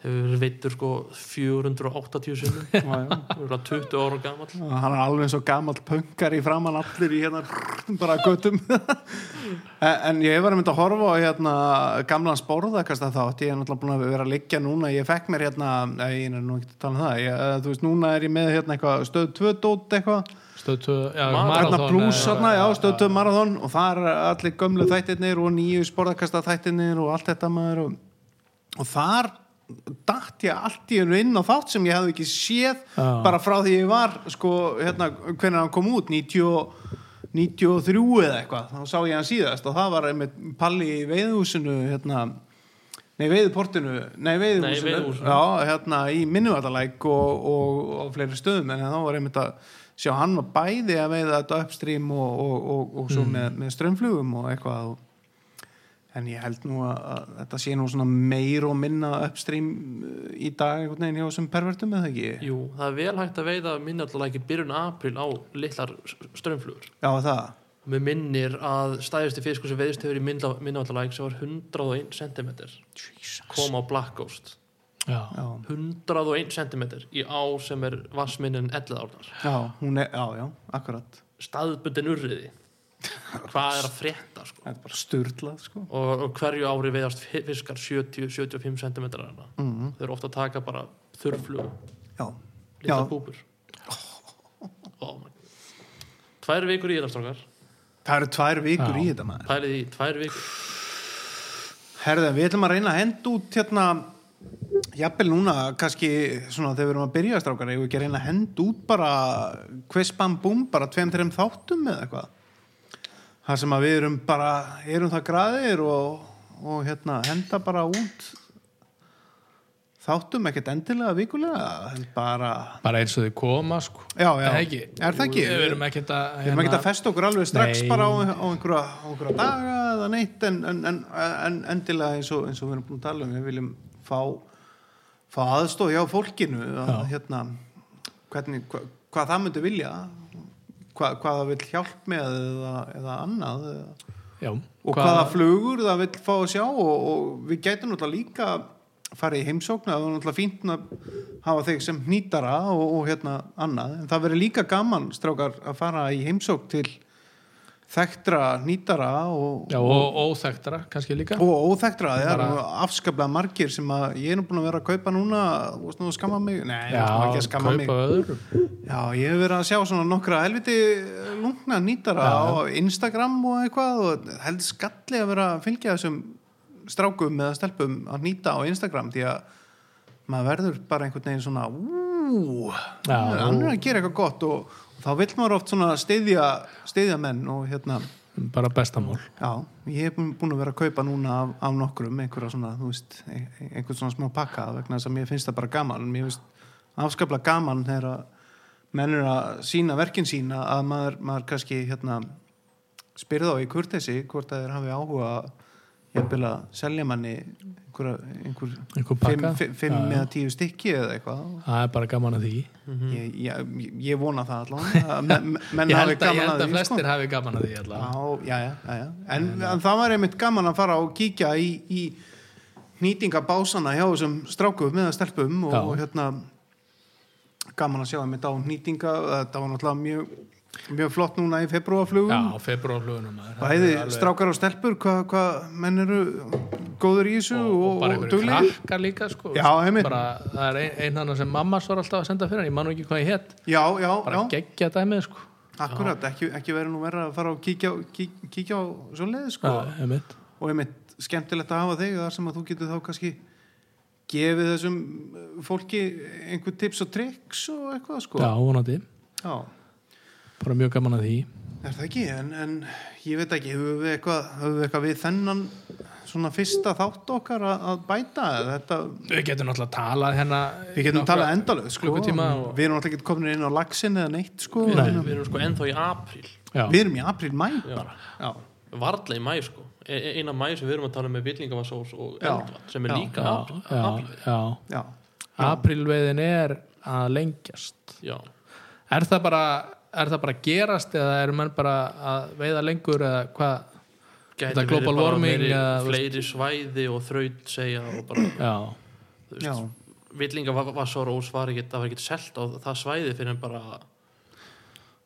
C: hefur verið veittur sko 480 sinnum
A: já, já.
C: örugglega 20 ára gamall
A: Já, hann er alveg eins og gamall punkar í framann allir í hérna bara göttum en en ég var einmitt að horfa á hérna gamlan spórðakast að þátt ég er náttúrulega búin að vera að liggja núna ég fekk mér hérna, nei, ég er nú ekki að tala um það ég, eh, þú veist, núna er ég með hérna eitthvað stöð 2 dót eitthvað,
B: stöðtu
C: Marathon,
B: eh,
A: hérna blús hérna, já, stöð 2 marathon og það er allir gömlu þættirnir og nýju spórðakasta þættirnir og allt þetta maður og, og þar dætt ég allt í hennu inn á þátt sem ég hefði ekki séð
B: Já.
A: bara frá því ég var sko, hérna, hvernig hann kom út 90, og- 93 eða eitthvað þá sá ég hann síðast og það var einmitt palli í veiðhúsinu hérna, nei veiðportinu nei veiðhúsinu,
C: Nei, veiðihúsinu.
A: Já, hérna, í minnuvaldalæk og, og, og á fleiri stöðum en þá var einmitt að sjá hann var bæði að veiða þetta uppstrím og, og, og, og svo með, með strömmflugum og eitthvað og En ég held nú að, að þetta sé nú svona meir og minna uppstrím í dag einhvern veginn hjá þessum pervertum eða ekki?
C: Jú, það er vel hægt að veiða minni alltaf ekki byrjun april á litlar strömmflugur
A: Já, það.
C: Mér minnir að stæðusti fiskur sem veiðist hefur í minnavallarlæk sem var 101 cm kom á Black Ghost
B: já,
A: Já,
C: 101 cm í á sem er vassminnin 11 árnar
A: já, hún er, já, já, akkurat.
C: staðbundin urriði hvað er að frétta sko
A: Þetta er bara styrlað, sko.
C: og, og hverju ári veiðast fi- fiskar 70-75 cm hana
A: Mm,
C: þau eru ofta að taka bara þurrflug
A: já, já,
C: litla púpur oh. my god tvær vikur í þetta strókar
A: það eru tvær vikur
B: Já.
A: í þetta maður.
C: pælið í tvær vikur
A: Herðu, við ætlum að reyna að henda út hérna, jafnvel núna, kannski svona þegar við erum að byrja strákar, eigum við ekki að reyna að henda út bara hvers bam búm, bara tveim, þreim þáttum eða eitthvað. Það sem að við erum bara, erum það graðir og, og hérna, henda bara út þáttum, ekkert endilega vikulega, en bara,
B: bara eins og þau koma sko
A: já, já,
B: Er það ekki?
A: er það ekki?
B: við erum ekkert að, hérna-
A: Við erum ekkert að festa okkur alveg strax
B: Nei.
A: bara á, á einhverja, á einhverja daga eða neitt en, en, en, en endilega eins og, eins og við erum búin að tala um við viljum fá, fá aðstofi á fólkinu að, hérna, hvernig, hva, hvað það myndi vilja hva, hvað það vil hjálp með eða, eða annað eða,
B: já,
A: og hvaða flugur það vil fá að sjá og, og við gætum náttúrulega líka farið í heimsókna það er náttúrulega fínt að hafa þig sem hnýtara og, og hérna annað en það verður líka gaman strákar að fara í heimsókn til þekktra hnýtara og,
B: já, og óþæktara kannski líka
A: og óþekktra það er
B: Bara-
A: nú afskaplega margir sem að ég er nú búin að vera að kaupa núna og svona skamma mig nei,
B: já,
A: það er ekki að skamma mig
B: kaupa öðrum
A: Já, ég hef verið að sjá svona nokkra helviti eh, lungna nýtara á Instagram og eitthvað og held skalli að vera að fylgja þessum strákum eða stelpum að nýta á Instagram því að maður verður bara einhvern veginn svona úúú,
B: Já.
A: hann er að gera eitthvað gott og, og þá vill maður oft svona styðja, styðja menn og hérna
B: bara bestamál
A: Já, ég hef búin að vera að kaupa núna af, af nokkrum einhverja svona, þú veist, ein- einhvern svona smá pakka vegna þess að mér finnst það bara gaman. Mér finnst afskaplega gaman þegar að menn eru að sína verkin sína að maður, maður kannski hérna spyrða á í kurtesi hvort að þeir hafi áhuga jafnvel að selja manni einhverja, einhver,
B: Einhver
A: fimm,
B: pakka?
A: fimm, fimm
B: Já, já.
A: eða tíu stykki eða eitthvað.
B: það er bara gaman að því
A: Ég, ég, ég vona það allan að men- menn
B: ég
A: hafi
B: held að,
A: gaman
B: ég held
A: að
B: að
A: því, sko.
B: flestir hafi gaman að því allavega.
A: Já, já, já, já, já. En, en það var einmitt gaman að fara og kíkja í, í nýtingabásana hjá þessum strákum eða stelpum og,
B: Já.
A: og hérna gaman að sjá einmitt á nýtinga þetta var náttúrulega mjög mjög flott núna í
B: já,
A: februarflugum
B: februarflugunum
A: bæði strákar og stelpur hvað hva menn eru góður í þessu
B: og,
A: og,
B: bara
A: og,
B: einhverju
A: duglegir.
B: krakkar líka sko.
A: Já, einmitt.
B: bara, það er ein, ein hana sem mamma svo alltaf að senda fyrir hann, ég man nú ekki hvað ég hétt
A: Já, já,
B: bara
A: já,
B: geggja dæmið sko.
A: akkurat ekki, ekki verið nú verið að fara og kíkja, kík, kíkja á svo leiði sko
B: já, einmitt.
A: og einmitt skemmtilegt að hafa þig þar sem að þú getur þá kannski gefið þessum eh, fólki einhver tips og tricks og eitthvað sko
B: já, vonandi,
A: Já.
B: bara mjög gaman að því
A: er það ekki en, en ég veit ekki, höfum við eitthvað, höfum við, eitthvað við þennan svona fyrsta þátt okkar að, að bæta þetta,
B: Við getum náttúrulega talað hérna
A: við getum talað endalöð sko, við erum
B: klukkutíma og-
A: náttúrulega ekki komin inn á lagsin eða neitt sko,
C: Við
A: Við
C: erum,
A: erum-
C: við erum sko ennþá í apríl
B: Já.
A: við erum í apríl-mæ bara já.
C: varla í mæ sko E- e- eina mæ sem við erum að tala um með villingavasós og
A: Já.
C: eldvann sem er
A: Já.
C: líka
B: já,
C: apríl-
B: já,
C: apríl
B: já.
A: Já.
B: aprílveiðin er að lengjast
C: já,
B: er það bara er það bara að gerast eða eru menn bara að veiða lengur eða hvað
C: Gæti
B: Þetta
C: verið
B: global
C: bara
B: warming,
C: meiri-
B: eða, þú
C: fleiri svæði og þraut segja og bara
B: já,
C: þú
A: Já.
C: veist, villingavasós var ekkert það var ekkert selt á það svæði fyrir en bara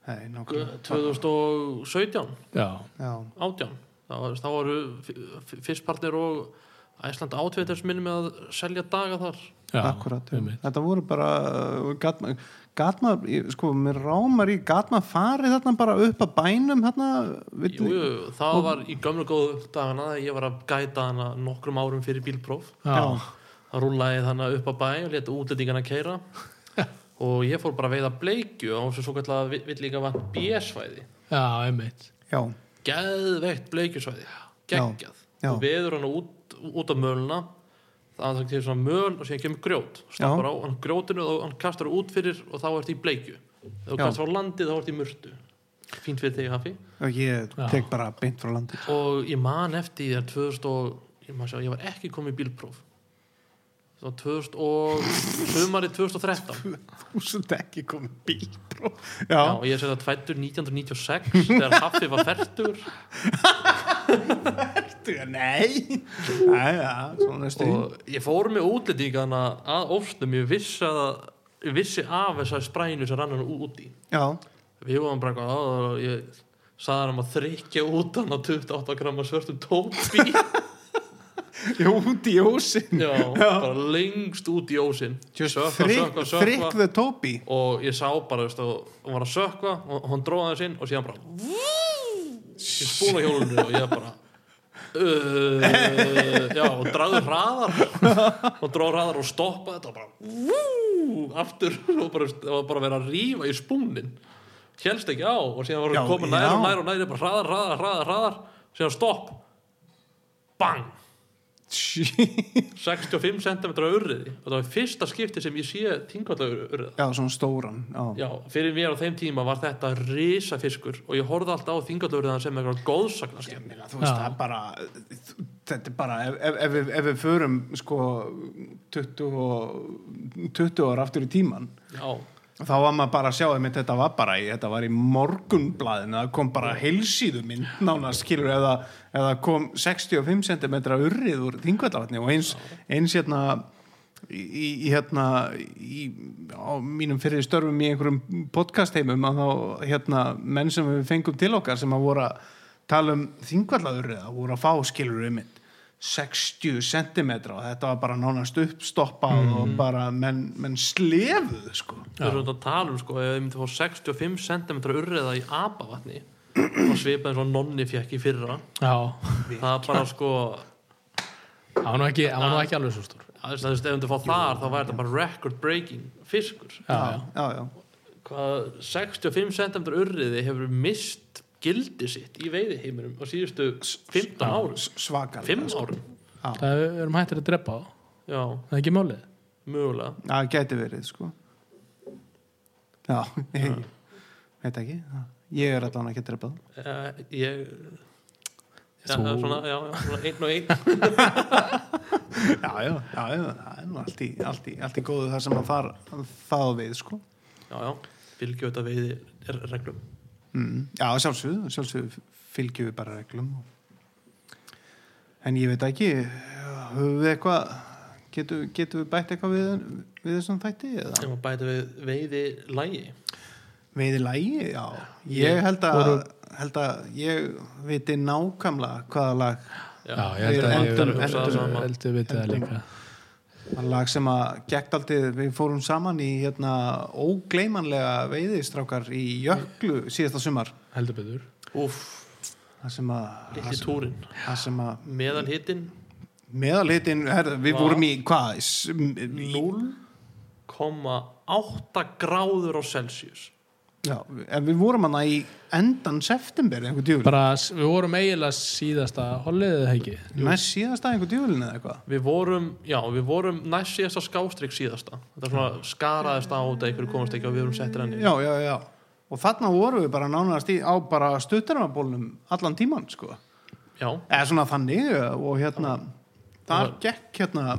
A: Nei, nákvæmlega.
C: 2017
B: já,
A: já.
C: 18 þá, var- þá voru fyrstpartnir og Æsland átveitars minnum með að selja daga þar
B: já
A: Akkurat, já.
B: einmitt.
A: þetta voru bara uh, gat, gat maður, ég- sko, mér rámar í gat maður farið þarna bara upp að bænum þarna, vill,
C: jú, jú, það var í gömlu góðu dagana þegar ég var að gæta hana nokkrum árum fyrir bílpróf
B: já,
A: Já.
C: það rúlaði þannig upp að bæ og leta útlendingana keira og ég fór bara að veiða bleikju á þessu svo kallega vill líka vant B-svæði
B: já, einmitt
A: já,
C: geðveikt bleikjusvæði geggjað
A: Já.
C: og veður hann út, út af möluna það er til svona möl og síðan kemur grjót stappar
A: Já.
C: á hann grjótinu og hann kastar út fyrir og þá ertu í bleikju þegar þú
A: Já.
C: kastar á landi þá ertu í murtu fínt fyrir þig hafi
A: og ég
B: Já.
A: tek bara beint frá landi
C: og ég man eftir því að 2000 og ég, man sjá, ég var ekki komið í bílpróf þá 2000 og sumari 2013
A: þúsund ekki komið bílbró
C: Já,
A: já,
C: og ég er sér að fættur 1996 þegar Haffi var færtur
A: ertu, nei já, já, svona er stuð
C: og ég fór með útlendingana að ofstum, ég vissi að ég vissi af þessar sprænu sem rann hann úti
A: já,
C: við vorum bara eitthvað "Á, og ég saði hann um að þrykja út hann á 28 gramma svörtum tópi
A: ég er úti í ósin
C: já, bara lengst út í ósinn sökva, sökva,
A: þrykk við tópi
C: og ég sá bara, veist, og hún var að sökva og hún dróði hans inn og síðan bara ég spúla hjólunni og ég bara uh, já, og dragði hraðar og dróði hraðar og stoppaði þetta og bara "Vú", aftur og bara, það var bara að vera að rífa í spúnin hélst ekki á og síðan var
A: Já,
C: hún koma
A: já.
C: nær og nær og nær bara hraðar, hraðar, hraðar, hraðar síðan stopp bang 65 cm urriði og það var fyrsta skipti sem ég sé þingvalla urriða
A: já, svona stóran já,
C: Já, fyrir mér á þeim tíma var þetta risafiskur og ég horfði alltaf á þingatlöfriðan sem eitthvað góðsagnaskja.
A: Ég meina, þú veist,
B: Já.
A: það er bara þetta er bara, ef, ef, ef, við, ef við förum sko 20, og, 20 ára aftur í tíman
C: Já,
A: þá var maður bara að sjá einmitt þetta var bara í, þetta var í morgunblæðinu það kom bara heilsíðu mynd nánast skilur eða, eða kom 65 cm urrið úr þingvallavatni og eins, eins hérna í, í hérna í, á mínum fyrir störfum í einhverjum podcastheimum að þá hérna menn sem við fengum til okkar sem að voru að tala um þingvallaurriða voru að fá skilur um mynd 60 cm og þetta var bara nánast uppstoppað og bara menn, menn slefuð sko
C: við erum þetta að tala um sko, ef ég myndi fá 65 cm urriða í apavatni og svipa eins og nonni fekk í fyrra.
B: já,
C: Það er bara sko,
B: það var nú ekki, það var nú ekki alveg svo stór
C: að þess að þú veist, ef þú fá þar þá væri þetta bara record breaking fiskur.
B: já,
A: já, já.
C: Hvað 65 cm urriði hefur mist gildi sitt í veiði heiminum á síðustu 15 árum.
A: svakar
C: 5 árum?
B: það er- við erum hættir að drepa á
C: Já,
B: það er ekki málið
C: mögulega.
A: það gæti verið sko já, ég veit ekki Já. ég er allan ekki drefað
C: Uh, ég
B: Þú-
C: já, það er svona, já, já, svona einn og einn
A: já, já, já, já, það er nú allt í, allt í, allt í góðu þar sem að fara það á við sko
C: já, já, fylgjum þetta veiði er- reglum
A: mm. já, sjálfsögðu, sjálfsögðu fylgjum við bara reglum en ég veit ekki höfum við eitthvað getum, getum við bætt eitthvað við, við þessum þætti eða
C: sem að bæta við veiði lægi
A: Veiði lægi, já. Ég held að, held að ég viti nákvæmlega hvaða lag,
C: já,
B: já, ég held
A: Við
B: að
A: endum-
B: ég
C: endum-
B: held- held við vitið það líka
A: það lag sem að gekk aldrei, við fórum saman í hérna ógleymanlega veiðistrákar í Jöklu síðasta sumar.
B: heldur betur
C: úff,
A: Það sem að,
C: litli túrin
A: það sem að
C: meðan hittin
A: meðalhitin, herðu, við
C: Vá.
A: vorum í hvað? S- m- í-
C: 0,8 gráður á Celsius
A: Já, en við vorum hana í endan september einhver djúl,
B: bara, s- við vorum eiginlega síðasta hollið eða ekki
A: næst síðasta einhver djúlin eða eitthvað
C: Við vorum, já, við vorum næst síðasta skástrík síðasta. Þetta er svona skaraðist á þetta einhverju komast ekki og við vorum settir henni.
A: já, já, já og þarna vorum við bara nánast í, á bara stuttarmabólnum allan tíman sko.
C: já.
A: eða svona þannig og hérna þar gekk hérna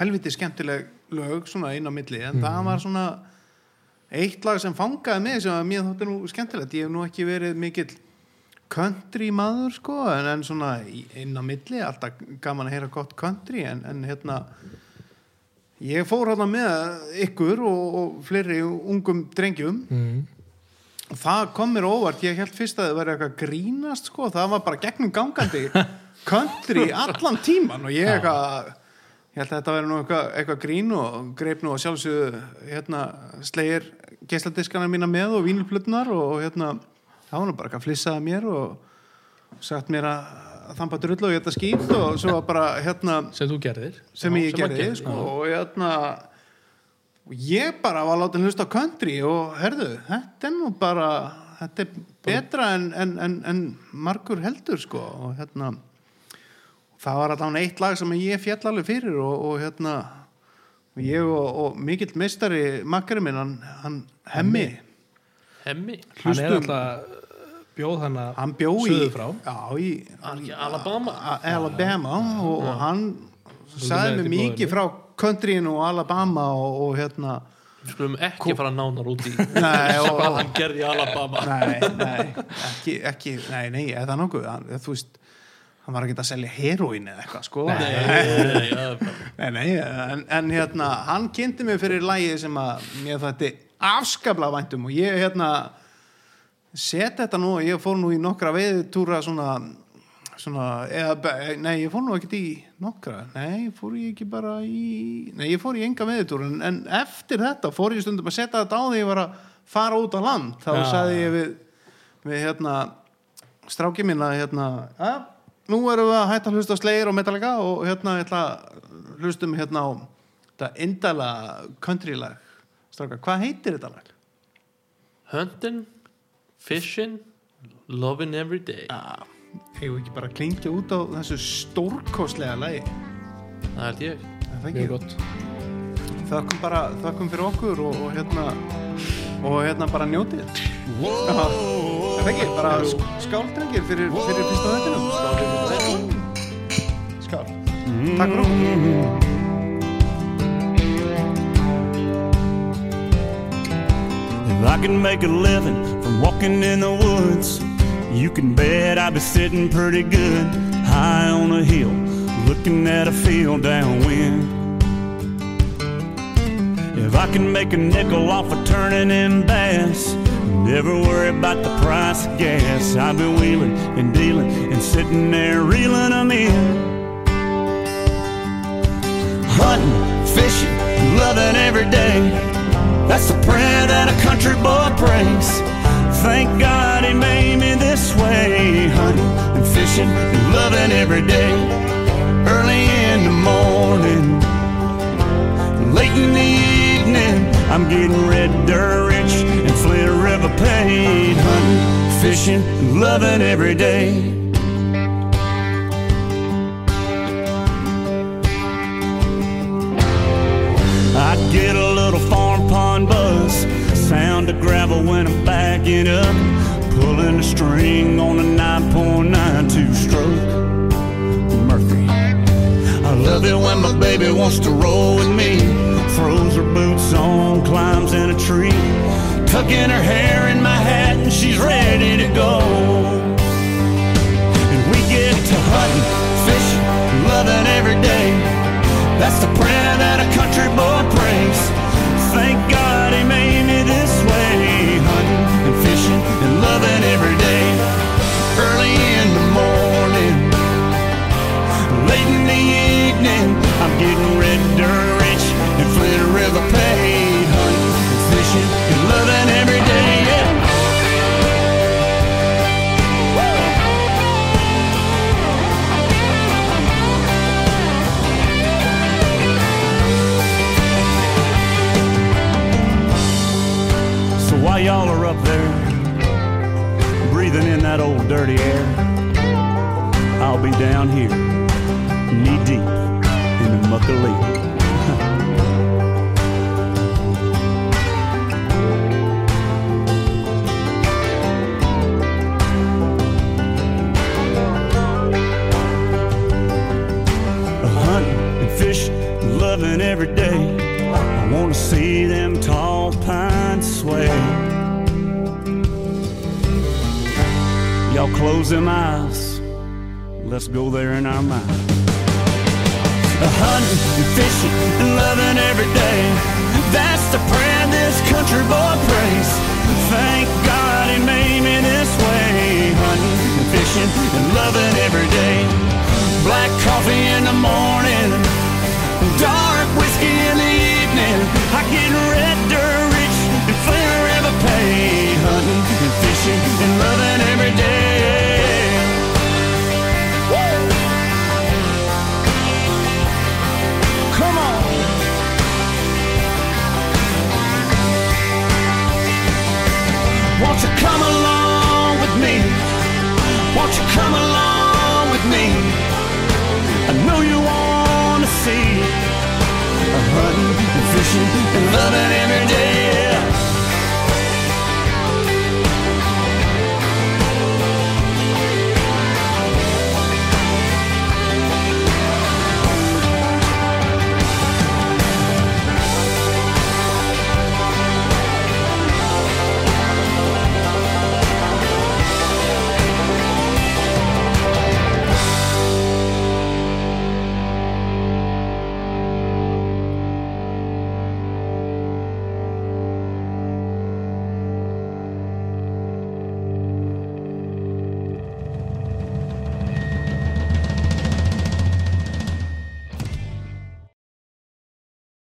A: helviti skemmtileg lög svona inn á milli en það var svona eitt lag sem fangaði mig sem að mér þótti nú skemmtilegt ég hef nú ekki verið mikill country maður sko en, en svona í- inn á milli alltaf gaman að heyra gott country en, en hérna ég fór hérna með ykkur og, og fleiri ungum drengjum
B: mm.
A: og það kom mér óvart, ég held fyrst að það væri eitthvað grínast sko, það var bara gegnum gangandi country allan tíman og ég eitthvað ég held að þetta væri nú eitthvað, eitthvað grín og greip nú að sjálfsögðu hérna, slegir geisladiskana mína með og vínulplutnar og hérna það var nú bara eitthvað flissaði að mér og sagt mér að þamba drull og ég þetta skýt og svo var bara hérna
B: sem þú gerðir
A: sem ég
C: Já, sem hann
A: gerði
C: gerði,
A: sko, og hérna og ég bara var látið hlusta á country og herðu, þetta er nú bara þetta er betra en, en, en, en margur heldur sko og hérna það var allan eitt lag sem ég fjall alveg fyrir og, og hérna og ég og, og mikill meistari makkari minn, hann, hann hemmi
C: Hemmi.
B: hann er
A: Hlustum.
B: alltaf uh, bjóð hann að
A: hann bjó í,
B: Suður frá.
A: já, í
C: Hann er ekki Alabama.
A: A- Alabama og, og hann
B: með
A: sagði
B: þetta
A: mér
B: í blóðinu.
A: mikið frá countryin og Alabama og, og hérna
C: Við skulum ekki fara nánar út í
A: Nei, og-
C: hvað hann gerði í Alabama.
A: nei, nei, ekki, ekki nei, nei, eða nokkuð hann, þú veist, hann var ekki að selja heroin eða eitthvað, sko
C: Nei, nei, nei, það er bara-
A: nei, nei, en, en hérna, hann kynnti mig fyrir lagið sem að mér þetta afskapla væntum og ég hérna set þetta nú, ég fór nú í nokkra veiðutúra svona, svona eða, be- nei, ég fór nú ekkert í nokkra, nei, fór ég ekki bara í, nei, ég fór í enga veiðutúra en, en eftir þetta fór ég stundum að setja þetta á því ég var að fara út á land þá
B: Já.
A: sagði ég við, við hérna, strákið mín að hérna, að, nú erum við að hætta að hlusta á slegir og metallega og hérna, ég ætla að hlustum hérna á þetta indala country lag stráka, hvað heitir þetta lag?
C: Hunting, fishing, loving every day.
A: Hefur ekki bara klingja út á þessu stórkostlega lagi
C: Það held ég.
A: Er það
B: mjög
A: ekki?
B: gott
A: Þökkum bara, þökkum fyrir okkur og, og hérna og hérna bara njótið Já, Er það ekki? Bara skáldrengir fyrir, fyrir fyrsta þettinum Skál Takk fyrir okkur
D: If I can make a living from walking in the woods, you can bet I'd be sitting pretty good high on a hill, looking at a field downwind. If I can make a nickel off of turning in bass, never worry about the price of gas, I'd be wheeling and dealing and sitting there reeling 'em in hunting, fishing, loving every day. That's the prayer that a country boy prays. Thank God he made me this way. Hunting and fishing and loving every day. Early in the morning, late in the evening, I'm getting red dirt rich and Flint River paid. Hunting, fishing, and loving every day. I'd get a little farm pond buzz, sound of gravel when I'm backing up, pulling the string on a 9.92 stroke Murphy. I love it when my baby wants to roll with me, throws her boots on, climbs in a tree, tucking her hair in my hat, and she's ready to go. And we get to hunting, fishing, loving every day. That's the prayer that a country boy prays. Thank God he made me this way. Hunting and fishing and loving every day. Early in the morning, late in the evening, I'm getting red dirt rich and Flint River paid. Hunting and fishing and loving every day. Yeah. while y'all are up there breathing in that old dirty air. I'll be down here, knee deep in the muck of leaf. hunting and fishing, loving every day. I want to see them tall pines sway. Y'all close them eyes. Let's go there in our mind. A hunting and fishing and loving every day. That's the prayer this country boy prays. Thank God he made me this way. Hunting and fishing and loving every day. Black coffee in the morning, dark whiskey in the evening. I get red dirt rich and Flint River pay. Hunting and fishing and loving every day. Come on. Won't you come along with me? Won't you come along?